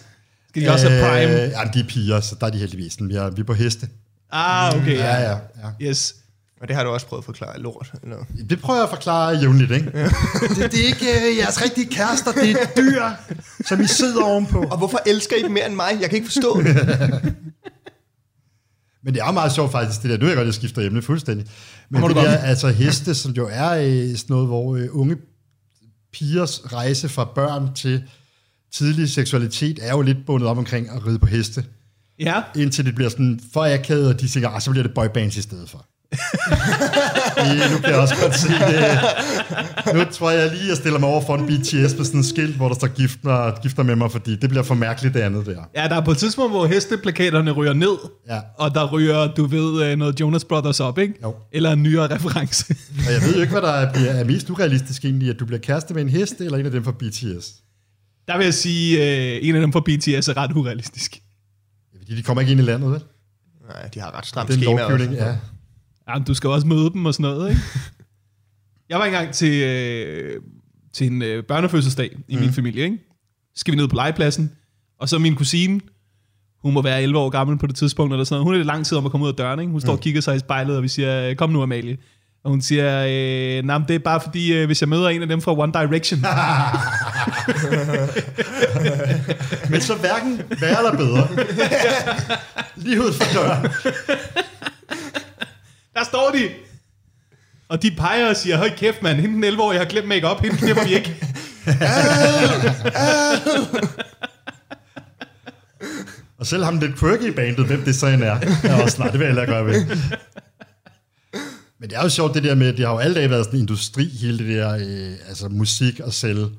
Skal de også have prime?
Øh, ja, de er piger, så der er de heldigvis. sådan, Vi er, vi er på heste.
Ah, okay,
Ja,
ja.
ja, ja.
Yes.
Og det har du også prøvet at forklare lort. Eller?
Det prøver jeg at forklare jævnligt, ikke? det, det er ikke øh, jeres rigtige kærester, det er dyr, som I sidder ovenpå.
Og hvorfor elsker I dem mere end mig? Jeg kan ikke forstå det.
Men det er jo meget sjovt faktisk, det der. Nu er jeg godt, jeg skifter emne fuldstændig. Men
Må
det
du
der,
godt.
altså heste, som jo er øh, sådan noget, hvor øh, unge pigers rejse fra børn til tidlig seksualitet, er jo lidt bundet op omkring at ride på heste.
Ja,
Indtil det bliver sådan for akavet, og de tænker, "Ah, så bliver det boybands i stedet for. øh, nu kan jeg også godt se det. Nu tror jeg lige, jeg stiller mig over for en BTS med sådan en skilt, hvor der står gift mig, gift dig med mig, fordi det bliver for mærkeligt det andet der.
ja, der er på et tidspunkt, hvor hesteplakaterne ryger ned,
Ja.
og der ryger, du ved, øh, noget Jonas Brothers op, ikke?
Jo.
Eller en nyere reference.
Og jeg ved jo ikke, hvad der er- bliver, er mest urealistisk egentlig, at du bliver kæreste med en hest, eller en af dem fra BTS.
Der vil jeg sige, øh, en af dem fra BTS er ret urealistisk.
Ja, Fordi de kommer ikke ind i landet, vel?
Nej, de har ret stramt
Den
schema også.
lovgivning, ja.
Jamen, du skal jo også møde dem og sådan noget, ikke? Jeg var engang til, øh, til en øh, børnefødselsdag i mm. min familie, ikke? Så Skal vi ned på legepladsen, og så min kusine, hun må være 11 år gammel på det tidspunkt, eller sådan noget. Hun er lidt lang tid om at komme ud af døren, ikke? Hun står og kigger sig i spejlet, og vi siger, øh, kom nu Amalie. Og hun siger, øh, nej, det er bare fordi, øh, hvis jeg møder en af dem fra One Direction.
Men så hverken værre eller bedre. Lige ud for døren.
Der står de! Og de peger og siger, høj kæft mand, hende den 11 år, jeg har glemt make op, hende knipper vi ikke.
Og selv ham lidt quirky i bandet, hvem det så end er. Jeg er også, nej, det vil jeg heller ikke gøre ved. Men det er jo sjovt det der med, at det har jo alle dage været sådan en industri, hele det der øh, altså musik og sælge. Det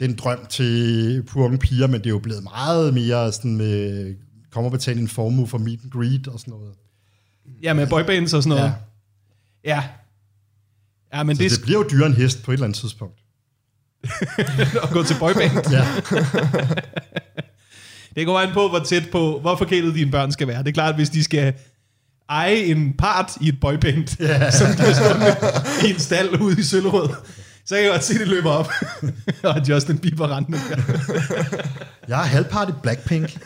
er en drøm til pure unge piger, men det er jo blevet meget mere sådan med, øh, kommer og betale en formue for meet and greet og sådan noget.
Ja, med boybands og sådan noget. Ja. Ja, ja men
Så
det,
det bliver jo dyrere end hest på et eller andet tidspunkt.
at gå til boyband.
Ja.
Det går an på, hvor tæt på, hvor forkælet dine børn skal være. Det er klart, hvis de skal eje en part i et boyband, yeah. som de har stående i en stald ude i Søllerød, så kan jeg godt se, det løber op. og Justin Bieber rendende der.
Jeg er halvpart i Blackpink.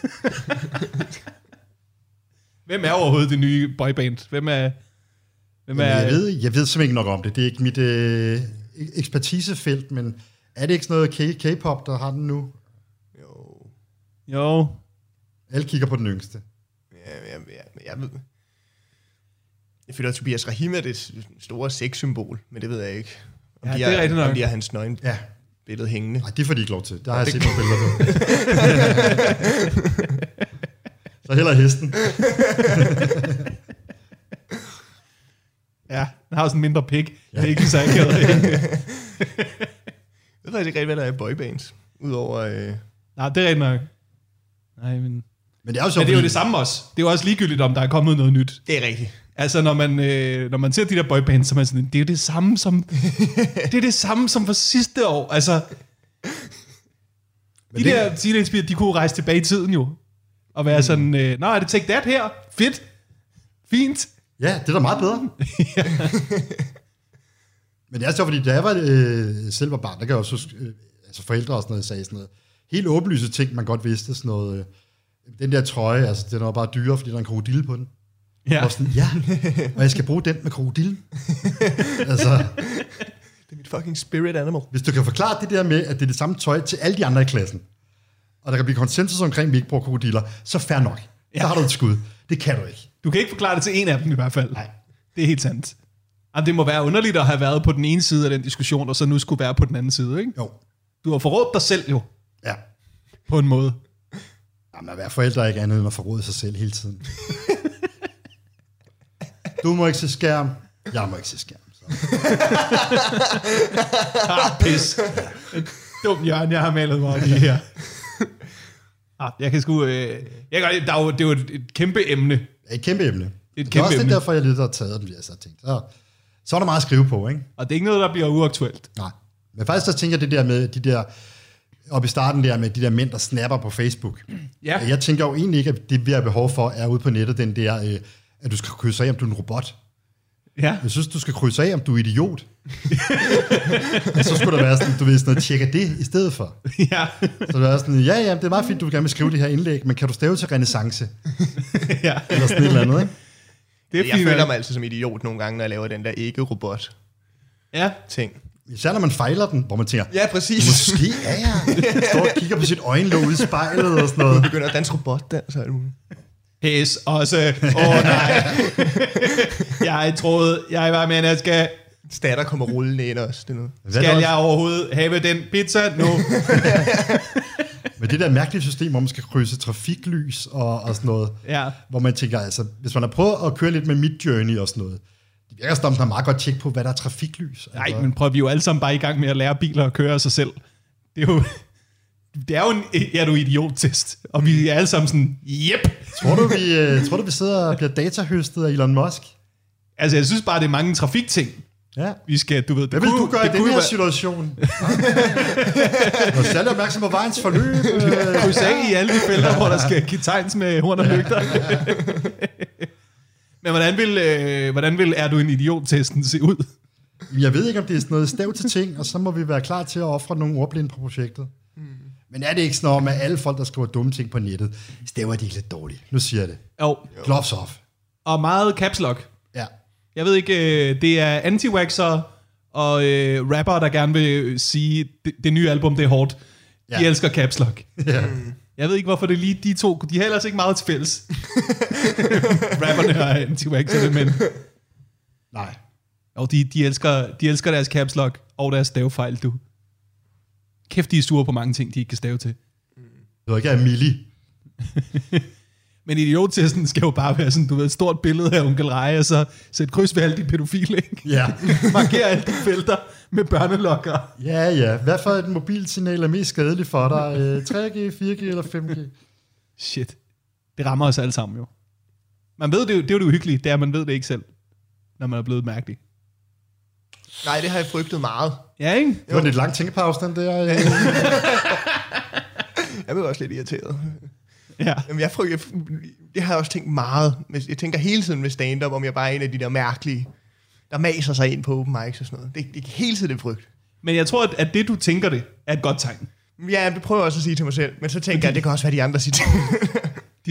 Hvem er overhovedet det nye boyband? Hvem er... Hvem er
Men jeg, ved, jeg ved simpelthen ikke nok om det. Det er ikke mit øh, ekspertisefelt, men er det ikke sådan noget K- K-pop, der har den nu?
Jo,
Jo,
Alle kigger på den yngste.
ja, ja, ja, men jeg ved... Jeg føler, at Tobias Rahim er det s- store sexsymbol, men det ved jeg ikke. Om
Ja,
de
det er
har-
rigtigt nok.
Om de har hans nøgen
Ja.
billede hængende.
Nej, det får de ikke lov til. Der har jeg set nogle billeder på. Så heller hesten.
ja, han har jo sådan en mindre pik. Ja. Det er ikke lige så akavet.
Jeg ved faktisk ikke rigtig, hvad der er i boybands. Udover... Øh,
Nej, det er rigtigt nok. Nej, men...
Men det er jo så,
Men det er jo
fordi-
det samme også. Det er jo også ligegyldigt, om der er kommet noget nyt.
det er rigtigt.
Altså, når man, øh, når man ser de der boybands, så er man sådan, det er jo det samme som, det er det samme som for sidste år. Altså, de
det- Mm.
der teenage Beat, de kunne jo rejse tilbage i tiden jo. Og være sådan, øh, nå, er det Take That her? Fedt. Fint.
Ja, det er da meget bedre. Men det er sjovt, fordi da jeg var øh, selv var barn, der kan jeg også huske, øh, altså forældre og sådan noget sagde sådan noget. Helt åbenlyse ting, man godt vidste, sådan noget. Øh, den der trøje, altså den var bare dyrere, fordi der er en krokodille på den. Ja.
Ja.
Og sådan, ja, og jeg skal bruge den med krokodillen. altså,
Det er mit fucking spirit animal.
hvis du kan forklare det der med, at det er det samme tøj til alle de andre i klassen, og der kan blive konsensus omkring, at vi ikke bruger krokodiller, så fair nok. Ja. Der har du et skud. Det kan du ikke.
Du kan ikke forklare det til en af dem i hvert fald.
Nej.
Det er helt sandt. Jamen, det må være underligt at have været på den ene side af den diskussion, og så nu skulle være på den anden side, ikke?
Jo.
Du har forrådt dig selv jo,
Ja.
på en måde.
Jamen, at være forældre er ikke andet end at forråde sig selv hele tiden. du må ikke se skærm. Jeg må ikke se skærm. Så.
Ah, pis. Dum hjørne, jeg har malet mig op i her. Ah, jeg kan sgu... Øh, jeg kan, godt- der er jo, det er jo et, et kæmpe emne.
Det er et kæmpe emne. Det
kæmpe
er også
emne.
det, derfor, jeg lidt har taget den, fordi jeg så tænkt. Så, så er der meget at skrive på, ikke?
Og det er ikke noget, der bliver uaktuelt.
Nej. Men faktisk så tænker jeg det der med de der op i starten der med de der mænd, der snapper på Facebook.
Ja.
Jeg tænker jo egentlig ikke, at det, vi har behov for, er ude på nettet, den der, øh, at du skal krydse af, om du er en robot.
Ja.
Jeg synes, du skal krydse af, om du er idiot. og så skulle der være sådan, du ved, sådan noget, tjekker det i stedet for.
ja.
Så det er sådan, ja, ja, det er meget fint, du gerne vil skrive det her indlæg, men kan du stave til renaissance?
ja.
Eller sådan et eller andet, ikke?
Det er øh,
Jeg
fint.
føler
nok.
mig altid som idiot nogle gange, når jeg laver den der ikke-robot-ting.
Ja.
Især når man fejler den, hvor man tænker,
Ja, præcis.
måske er jeg. Står og kigger på sit øjenlåg ude i spejlet og sådan noget.
Begynder at danse robotdans og alt muligt.
Pæs også. Åh oh, nej. jeg troede, jeg var med, at jeg skal...
Hans datter kommer rullende ind også. Det er noget.
Hvad er
Skal
det
jeg overhovedet have den pizza nu?
også? Men det der mærkelige system, hvor man skal krydse trafiklys og, og sådan noget,
Ja.
hvor man tænker, altså, hvis man har prøvet at køre lidt med Midjourney og sådan noget, det virker som, om, der er meget godt tjek på, hvad der er trafiklys.
Nej,
altså,
men prøv, vi er jo alle sammen bare i gang med at lære biler at køre af sig selv. Det er jo... Det er jo en er du idiot-test. Og vi er alle sammen sådan, yep.
tror, du, vi, øh, tror du, vi sidder og bliver datahøstet af Elon Musk?
Altså, jeg synes bare, det er mange trafikting.
Ja.
Vi skal, du ved... Det
Hvad vil du gøre i
det
den
kunne
her
være-
situation? Og særlig opmærksom på vejens forløb. øh,
Du sagde i alle de felter, hvor der skal give tegns med horn og lygter. Men hvordan vil, øh, hvordan vil er du en idiot-testen se ud?
Jeg ved ikke, om det er sådan noget stav til ting, og så må vi være klar til at ofre nogle ordblinde på projektet.
Hmm.
Men er det ikke sådan noget med at alle folk, der skriver dumme ting på nettet? Staver de ikke lidt dårligt? Nu siger jeg det.
Jo,
Gloves off.
og meget caps lock.
Ja.
Jeg ved ikke, øh, det er anti og øh, rapper, der gerne vil øh, sige, det, det nye album, det er hårdt. De
Ja.
elsker caps lock.
ja.
Jeg ved ikke, hvorfor det er lige de to. De har ellers ikke meget til fælles. Rapperne og anti men
Nej.
jo, de, de, elsker, de elsker deres caps lock og deres stavefejl, du. Kæft, de er sure på mange ting, de ikke kan stave til.
Det var ikke Amelie.
Men idiottesten skal jo bare være sådan, du ved, et stort billede af onkel Reje, og så sæt kryds ved alle de pædofile, ikke?
Ja.
Marker alle de felter med børnelokker.
Ja, ja. Hvad for et mobilsignal er mest skadeligt for dig? Øh, 3G, 4G eller 5G?
Shit. Det rammer os alle sammen jo. Man ved det, jo- det er jo det uhyggelige, det er, at man ved det ikke selv, når man er blevet mærkelig.
Nej, det har jeg frygtet meget.
Ja, ikke?
Det var en lidt lang tænkepause, den der. øh.
Jeg blev også lidt irriteret.
Ja.
Jamen, jeg frygter, det har jeg også tænkt meget. Men Jeg tænker hele tiden med stand-up, om jeg bare er en af de der mærkelige, der maser sig ind på open mics og sådan noget. Det, det er hele tiden en frygt.
Men jeg tror, at, at det, du tænker det, er et godt tegn.
Ja, det prøver jeg også at sige til mig selv, men så tænker jeg, at det kan også være de andre, der siger til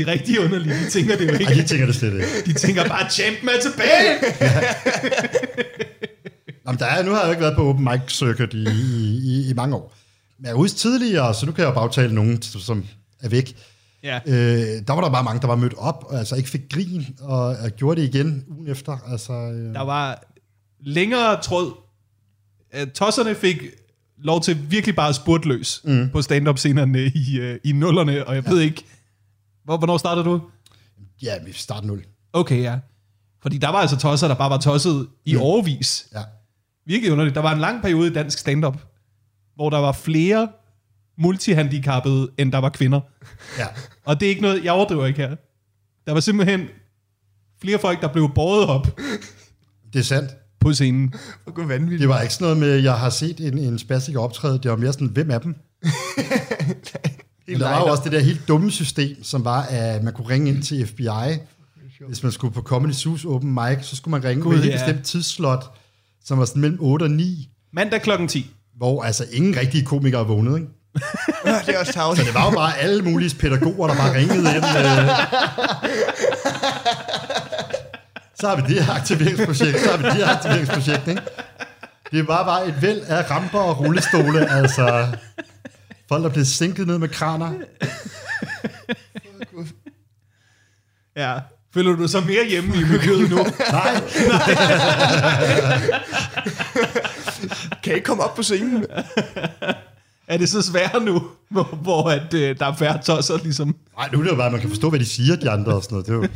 De rigtige underlige, de tænker det jo
Ej,
ikke.
jeg tænker det slet ikke.
De tænker bare, champ mig tilbage!
Jamen, der er, nu har jeg jo ikke været på open mic circuit i, i, i, i mange år. Men jeg husker tidligere, så nu kan jeg jo bagtale nogen, som som er væk.
Ja.
Øh, der var der bare mange, der var mødt op, og altså ikke fik grin, og, og gjorde det igen ugen efter. Altså, øh,
Der var længere tråd. Øh, Tosserne fik lov til virkelig bare at spurte løs mm. på stand-up-scenerne i, øh, i nullerne, og jeg ja. ved ikke, hvor, hvornår startede du?
ja, vi starter nul.
Okay, ja. Fordi der var altså tosser, der bare var tosset i mm. overvis.
Ja.
Virkelig underligt. Der var en lang periode i dansk stand-up, hvor der var flere multihandicappede, end der var kvinder.
ja.
Og det er ikke noget, jeg overdriver ikke her. Der var simpelthen flere folk, der blev båret op
Det er sandt.
på scenen.
Hvor vanvittigt.
Det var ikke sådan noget med, jeg har set en, en spastik optræde. Det var mere sådan, hvem af dem? Men der var jo også det der helt dumme system, som var, at man kunne ringe ind til FBI. Hvis man skulle på Comedy Zoo's open mic, så skulle man ringe God,
Gud,
med et ja.
ja.
bestemt tidsslot, som var sådan mellem 8 og 9,
Mandag klokken 10.
hvor altså ingen rigtige komikere vågnede. Ikke?
det er også tavligt.
Det var jo bare alle mulige pædagoger, der bare ringede ind. Øh. Så har vi det her aktiveringsprojekt, så har vi det her aktiveringsprojekt, ikke? Det var bare et væld af ramper og rullestole, altså. Folk, der blev sænket ned med kraner.
Ja. Føler du så mere hjemme i miljøet nu?
Nej,
Kan jeg ikke komme op på scenen?
er det så svært nu, hvor, hvor at, øh, der er færre tosser ligesom?
Nej, nu er det jo bare, at man kan forstå, hvad de siger, de andre og sådan noget. Det er jo...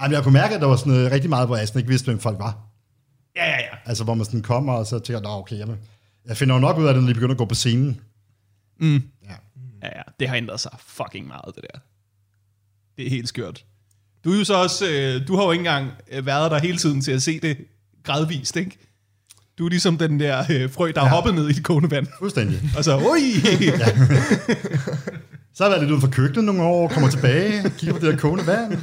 Ej, men jeg kunne mærke, at der var sådan noget, rigtig meget, hvor jeg sådan ikke vidste, hvem folk var.
Ja, ja, ja.
Altså, hvor man sådan kommer, og så tænker, nå, okay, jamen, jeg finder jo nok ud af det, når de begynder at gå på scenen.
Ja, ja. Det har ændret sig fucking meget, det der. Det er helt skørt. Du er jo så også, øh, du har jo ikke engang øh, været der hele tiden til at se det gradvist, ikke? Du er ligesom den der øh, frø, der ja. er hoppet ned i det kogende vand.
Fuldstændig.
Og så, oj!
Så har jeg været lidt uden for køkkenet nogle år, kommer tilbage, kigger på det der kogende vand.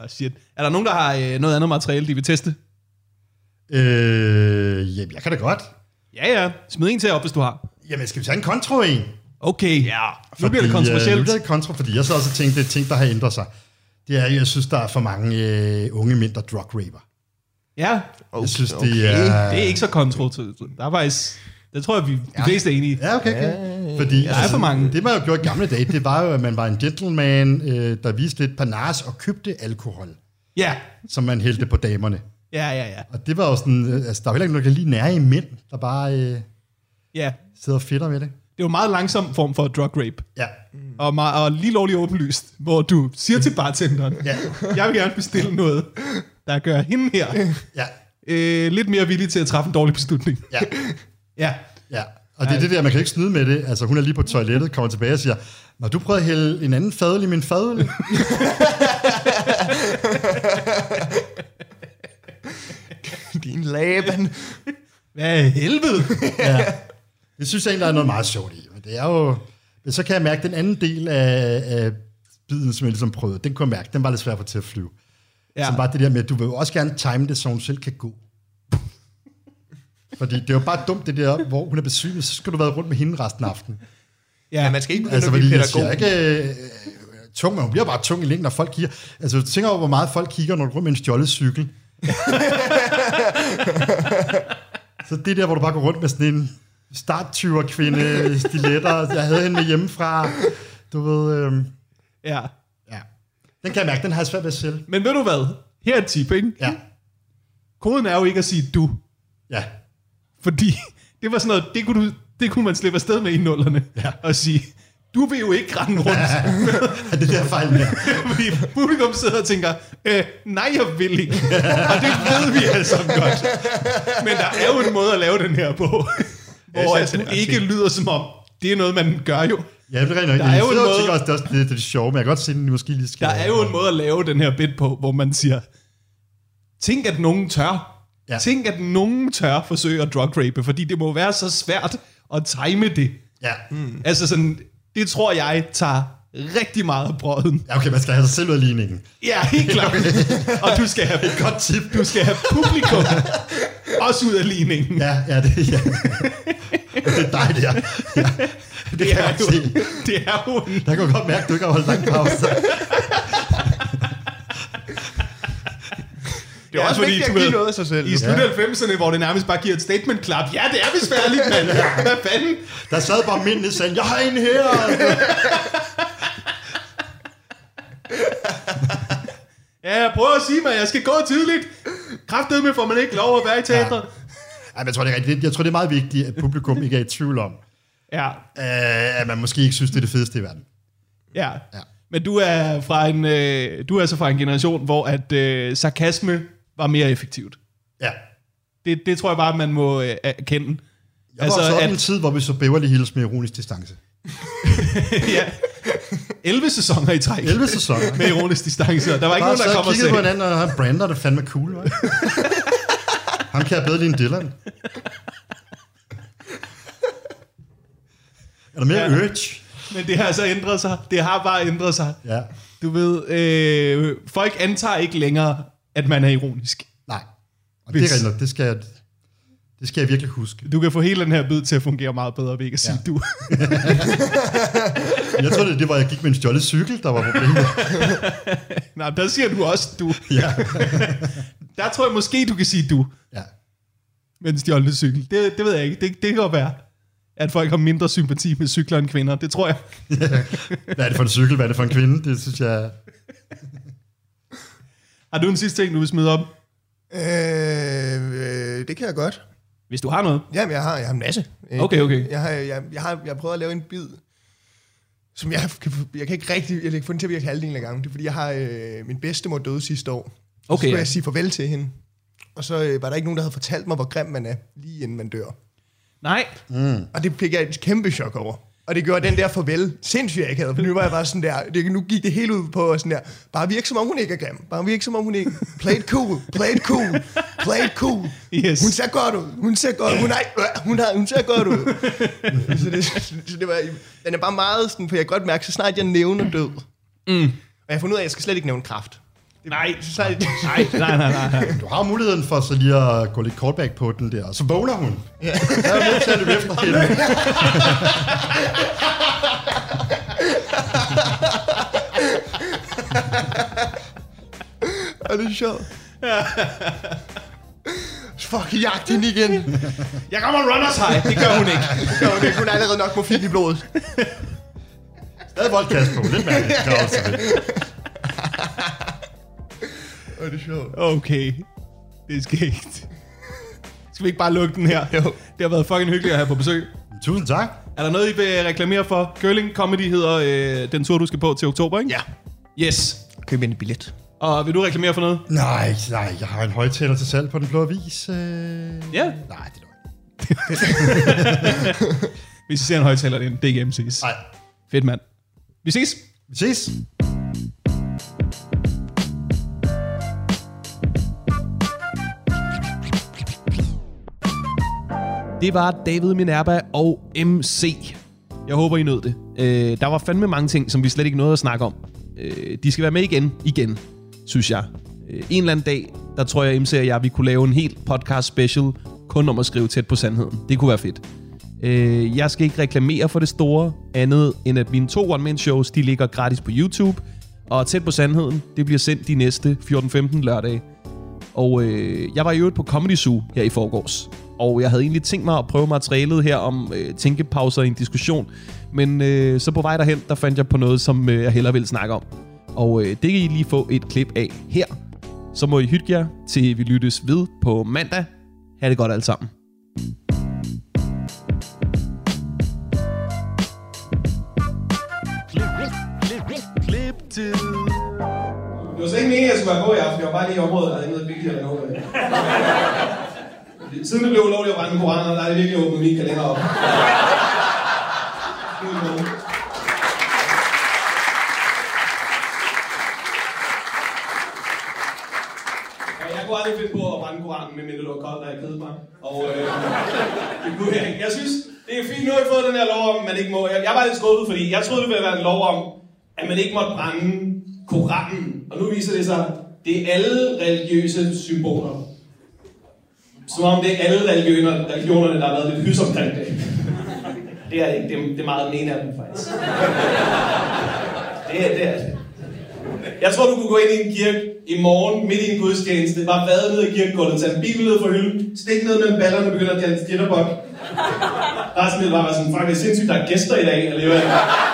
oh, shit. Er der nogen, der har øh, noget andet materiale, de vil teste?
Øh, jamen, jeg kan da godt.
Ja, ja. Smid en til op, hvis du har.
Jamen, skal vi tage en kontro en?
Okay, ja. Nu bliver det
Øh, nu
kontroversielt.
bliver det kontra, fordi jeg så også tænkte, det er ting, der har ændret sig. Det er, jeg synes, der er for mange øh, unge mænd, der drug raper.
Ja,
Jeg synes,
okay.
det er...
det er ikke så kontroversielt. Der er faktisk... Det tror jeg, vi de fleste er enige i.
Ja, okay, okay. Fordi, der
er for mange.
Det, man jo gjorde i gamle dage, det var jo, at man var en gentleman, øh, der viste lidt panas og købte alkohol,
Ja,
som man hældte på damerne.
ja, ja, ja.
Og det var jo sådan... Øh, altså, der er jo heller ikke nogen, der kan lide nære i mænd, der bare øh,
ja.
sidder og fedter med det.
Det er jo en meget langsom form for drug rape.
Ja.
Og, meget, og lige lovlig åbenlyst, hvor du siger til bartenderen,
Ja.
jeg vil gerne bestille noget, der gør hende her
Ja.
øh, lidt mere villig til at træffe en dårlig beslutning.
Ja.
Ja,
Ja. Og det er det der, man kan ikke snyde med det. Altså, hun er lige på toilettet, kommer tilbage og siger, når du prøver at hælde en anden fadel i min fadel,
Din Laban.
hvad i helvede?
Det synes jeg egentlig, der er noget meget sjovt i. Men det er jo... Men så kan jeg mærke, at den anden del af, af biden, som jeg ligesom prøvede, den kunne jeg mærke, den var lidt svær for til at flyve. Ja.
Ja.
Som var det der med, at du vil jo også gerne time det, så hun selv kan gå. Fordi det er jo bare dumt, det der, hvor hun er besvimet, så skal du være rundt med hende resten af aftenen.
Ja,
Ja, man skal ikke begynde
Altså,
at blive
fordi jeg siger ikke
pædagog.
øh, øh, tung, men hun bliver bare tung i længden, når folk kigger. Altså, du tænker over, hvor meget folk kigger, når du er rundt med en stjålet cykel. så det der, hvor du bare går rundt med sådan en starttyver kvinde, stiletter, jeg havde hende med hjemmefra, du ved, øh,
ja.
ja. Den kan jeg mærke, den har jeg svært ved selv.
Men ved du hvad? Her er et tip, ikke?
Ja,
Koden er jo ikke at sige du,
ja,
fordi det var sådan noget, det kunne, du, det kunne man slippe afsted med i nullerne,
Ja.
og sige, du vil jo ikke rende rundt
det der fejl der.
Fordi publikum sidder og tænker, øh, nej, jeg vil ikke. og det ved vi altså godt. Men der er jo en måde at lave den her på, hvor
Ja,
at
så er det
du
også
ikke lyder som om, det er noget, man gør jo.
Ja, det er rent nok.
Der er jo en måde-
Også, det er også det, det, er det sjove, men jeg kan godt se, at den måske lige skal...
Der er jo en måde at lave den her bit på, hvor man siger, tænk at nogen tør.
Ja.
Ja. Tænk at nogen tør forsøge at drug rape, fordi det må være så svært at time det.
Ja.
Mm. Altså sådan, det tror jeg tager rigtig meget af brøden.
ja, okay, man skal have sig selv ud af ligningen.
Ja, helt klart. og du skal have
Godt tip.
Du skal have publikum også ud af ligningen.
Ja, ja, det, ja. det er dig der. Ja, det, det
det,
kan
er
jeg
jo,
godt se.
det er jo en,
Der kan jeg godt mærke, at du ikke har holdt lang pause.
Det er også
Ja, vigtigt
vigtigt at
at
give
give
noget af sig selv.
i slut af 90'erne, hvor det nærmest bare giver et statement klap. Ja, det er besværligt, mand. Hvad fanden?
Der sad bare mændene og sagde, jeg har en her.
Ja, jeg prøver at sige mig, at jeg skal gå tidligt. Kraftedeme får man ikke lov at være i teatret.
Ej, men jeg tror, det er rigtigt. Jeg tror, det er meget vigtigt, at publikum ikke er i tvivl om,
Ja.
øh, at man måske ikke synes, det er det fedeste i verden.
ja,
Ja.
ja. Men du er fra en, øh, du er altså fra en generation, hvor at øh, sarkasme var mere effektivt.
Ja.
Det, det tror jeg bare, man må øh, erkende.
Jeg altså, var også
at-
op i en tid, hvor vi så Beverly Hills med ironisk distance.
ja. 11 sæsoner i træk
11 sæsoner.
med ironisk distance, og der var ikke
Bare
nogen,
sad
der
og
kom og
kiggede på
sagde,
hinanden, og han brander det fandme cool, hva'? Ham kan jeg bedre lide end Dylan. Er der mere
Ja.
ja. urge?
men det har så ændret sig. Det har bare ændret sig.
Ja.
Du ved, øh, folk antager ikke længere, at man er ironisk.
Nej. Og det er
Hvis-
rigtigt nok. Det skal, jeg, det skal jeg virkelig huske.
Du kan få hele den her bid til at fungere meget bedre ved ikke at sige
Ja.
ja. du.
Jeg tror, det var, jeg gik med en stjålet cykel, der var problemet.
Nej, der siger du også du.
Ja.
Der tror jeg måske, du kan sige du
ja.
med en stjålet cykel. Det, det ved jeg ikke. Det, det kan godt være, at folk har mindre sympati med cykler end kvinder. Det tror jeg.
Hvad er det for en cykel? Hvad er det for en kvinde? Det synes jeg...
Har du en sidste ting, du vil smide op?
Øh, øh, det kan jeg godt.
Hvis du har noget.
Jamen, jeg har, jeg har en masse. Øh,
Okay, okay.
Jeg har, jeg, jeg har jeg prøvet at lave en bid, som jeg kan, jeg kan ikke rigtig, jeg kan få den til at virke halvdelen af gangen. Det er, fordi jeg har, øh, min bedstemor døde sidste år. Så
Okay,
skulle
ja.
jeg sige farvel til hende. Og så øh, var der ikke nogen, der havde fortalt mig, hvor grim man er, lige inden man dør.
Nej.
Og det fik jeg et kæmpe chok over. Og Og det gjorde den der farvel sindssygt akavet, for nu var jeg bare sådan der, det, nu gik det hele ud på sådan der, bare virke som om hun ikke er grim, bare virke som om hun ikke, play it cool, play it cool, play it cool.
Yes.
Hun ser godt ud, hun ser godt ud, hun, er, øh, hun, har, hun ser godt ud. så, det, så det var, den er bare meget sådan, for jeg kan godt mærke, så snart jeg nævner død, mm. og jeg har fundet ud af, at jeg skal slet ikke nævne kraft.
Nej,
Så snart,
nej, nej, nej, nej. nej.
Du har muligheden for så lige at gå lidt callback på den der, og så vågner hun. Ja. Så er du nødt til at løbe efter hende.
er det sjovt? Fuck, jagt hende igen.
Jeg kommer runners high, det gør hun ikke.
Nå, okay, hun er allerede nok morfin i blodet.
Stadig voldkast på, lidt mærkeligt. Det er også det.
Og det er sjovt.
Okay, det er skægt. Skal vi ikke bare lukke den her? Jo. Det har været fucking hyggeligt at have på besøg.
Tusind tak.
Er der noget, I vil reklamere for? Curling Comedy hedder øh, den tur, du skal på til oktober, ikke?
Ja.
Yes.
Køb en billet.
Og vil du reklamere for noget?
Nej, nej, jeg har en højtaler til salg på den blå avis. Øh...
Ja.
Nej, det er dårligt.
Hvis I ser en højtaler, det er en DGMC's.
Nej,
Fedt, mand. Vi ses.
vi ses.
Det var David Minerva og MC. Jeg håber, I nød det. Øh, der var fandme mange ting, som vi slet ikke nåede at snakke om. Øh, de skal være med igen, igen, synes jeg. Øh, en eller anden dag, der tror jeg, MC og jeg, vi kunne lave en helt podcast special, kun om at skrive tæt på sandheden. Det kunne være fedt. Øh, jeg skal ikke reklamere for det store, andet end at mine to one-man-shows, de ligger gratis på YouTube. Og tæt på sandheden, det bliver sendt de næste 14-15 lørdage. Og øh, jeg var i øvrigt på Comedy Zoo her i forgårs. Og jeg havde egentlig tænkt mig at prøve materialet her om øh, tænkepauser i en diskussion. Men øh, så på vej derhen, der fandt jeg på noget, som øh, jeg hellere ville snakke om. Og øh, det kan I lige få et klip af her. Så må I hygge jer, til vi lyttes ved på mandag. Ha' det godt alle sammen.
Det var slet ikke meningen, at jeg skulle være på i aften. Jeg var bare lige i området, der havde noget vigtigt at nå med. Siden det blev ulovligt at brænde koraner, der er det virkelig åbnet min kalender op. Nu er det noget. Ja, Jeg kunne aldrig finde på at brænde koranen, medmindre det var koldt, og jeg kedede mig. Og øh, det kunne jeg ikke. Jeg synes, det er fint, nu har jeg fået den her lov om, at man ikke må... Jeg, jeg var lidt skuffet, fordi jeg troede, det ville være en lov om, at man ikke måtte brænde koranen. Og nu viser det sig, det er alle religiøse symboler. Som om det er alle religioner, religionerne, der har været lidt hys omkring det. Det er det ikke. Det er, det er meget den ene af dem, faktisk. Det er det. Er, det. Jeg tror, du kunne gå ind i en kirke i morgen, midt i en gudstjeneste, bare vade ned i kirkegulvet, tage en bibel ned fra hylden, stik ned mellem ballerne og begynde at danse jitterbug. Resten ville bare være sådan, fuck, det er sindssygt, der er gæster i dag, eller hvad?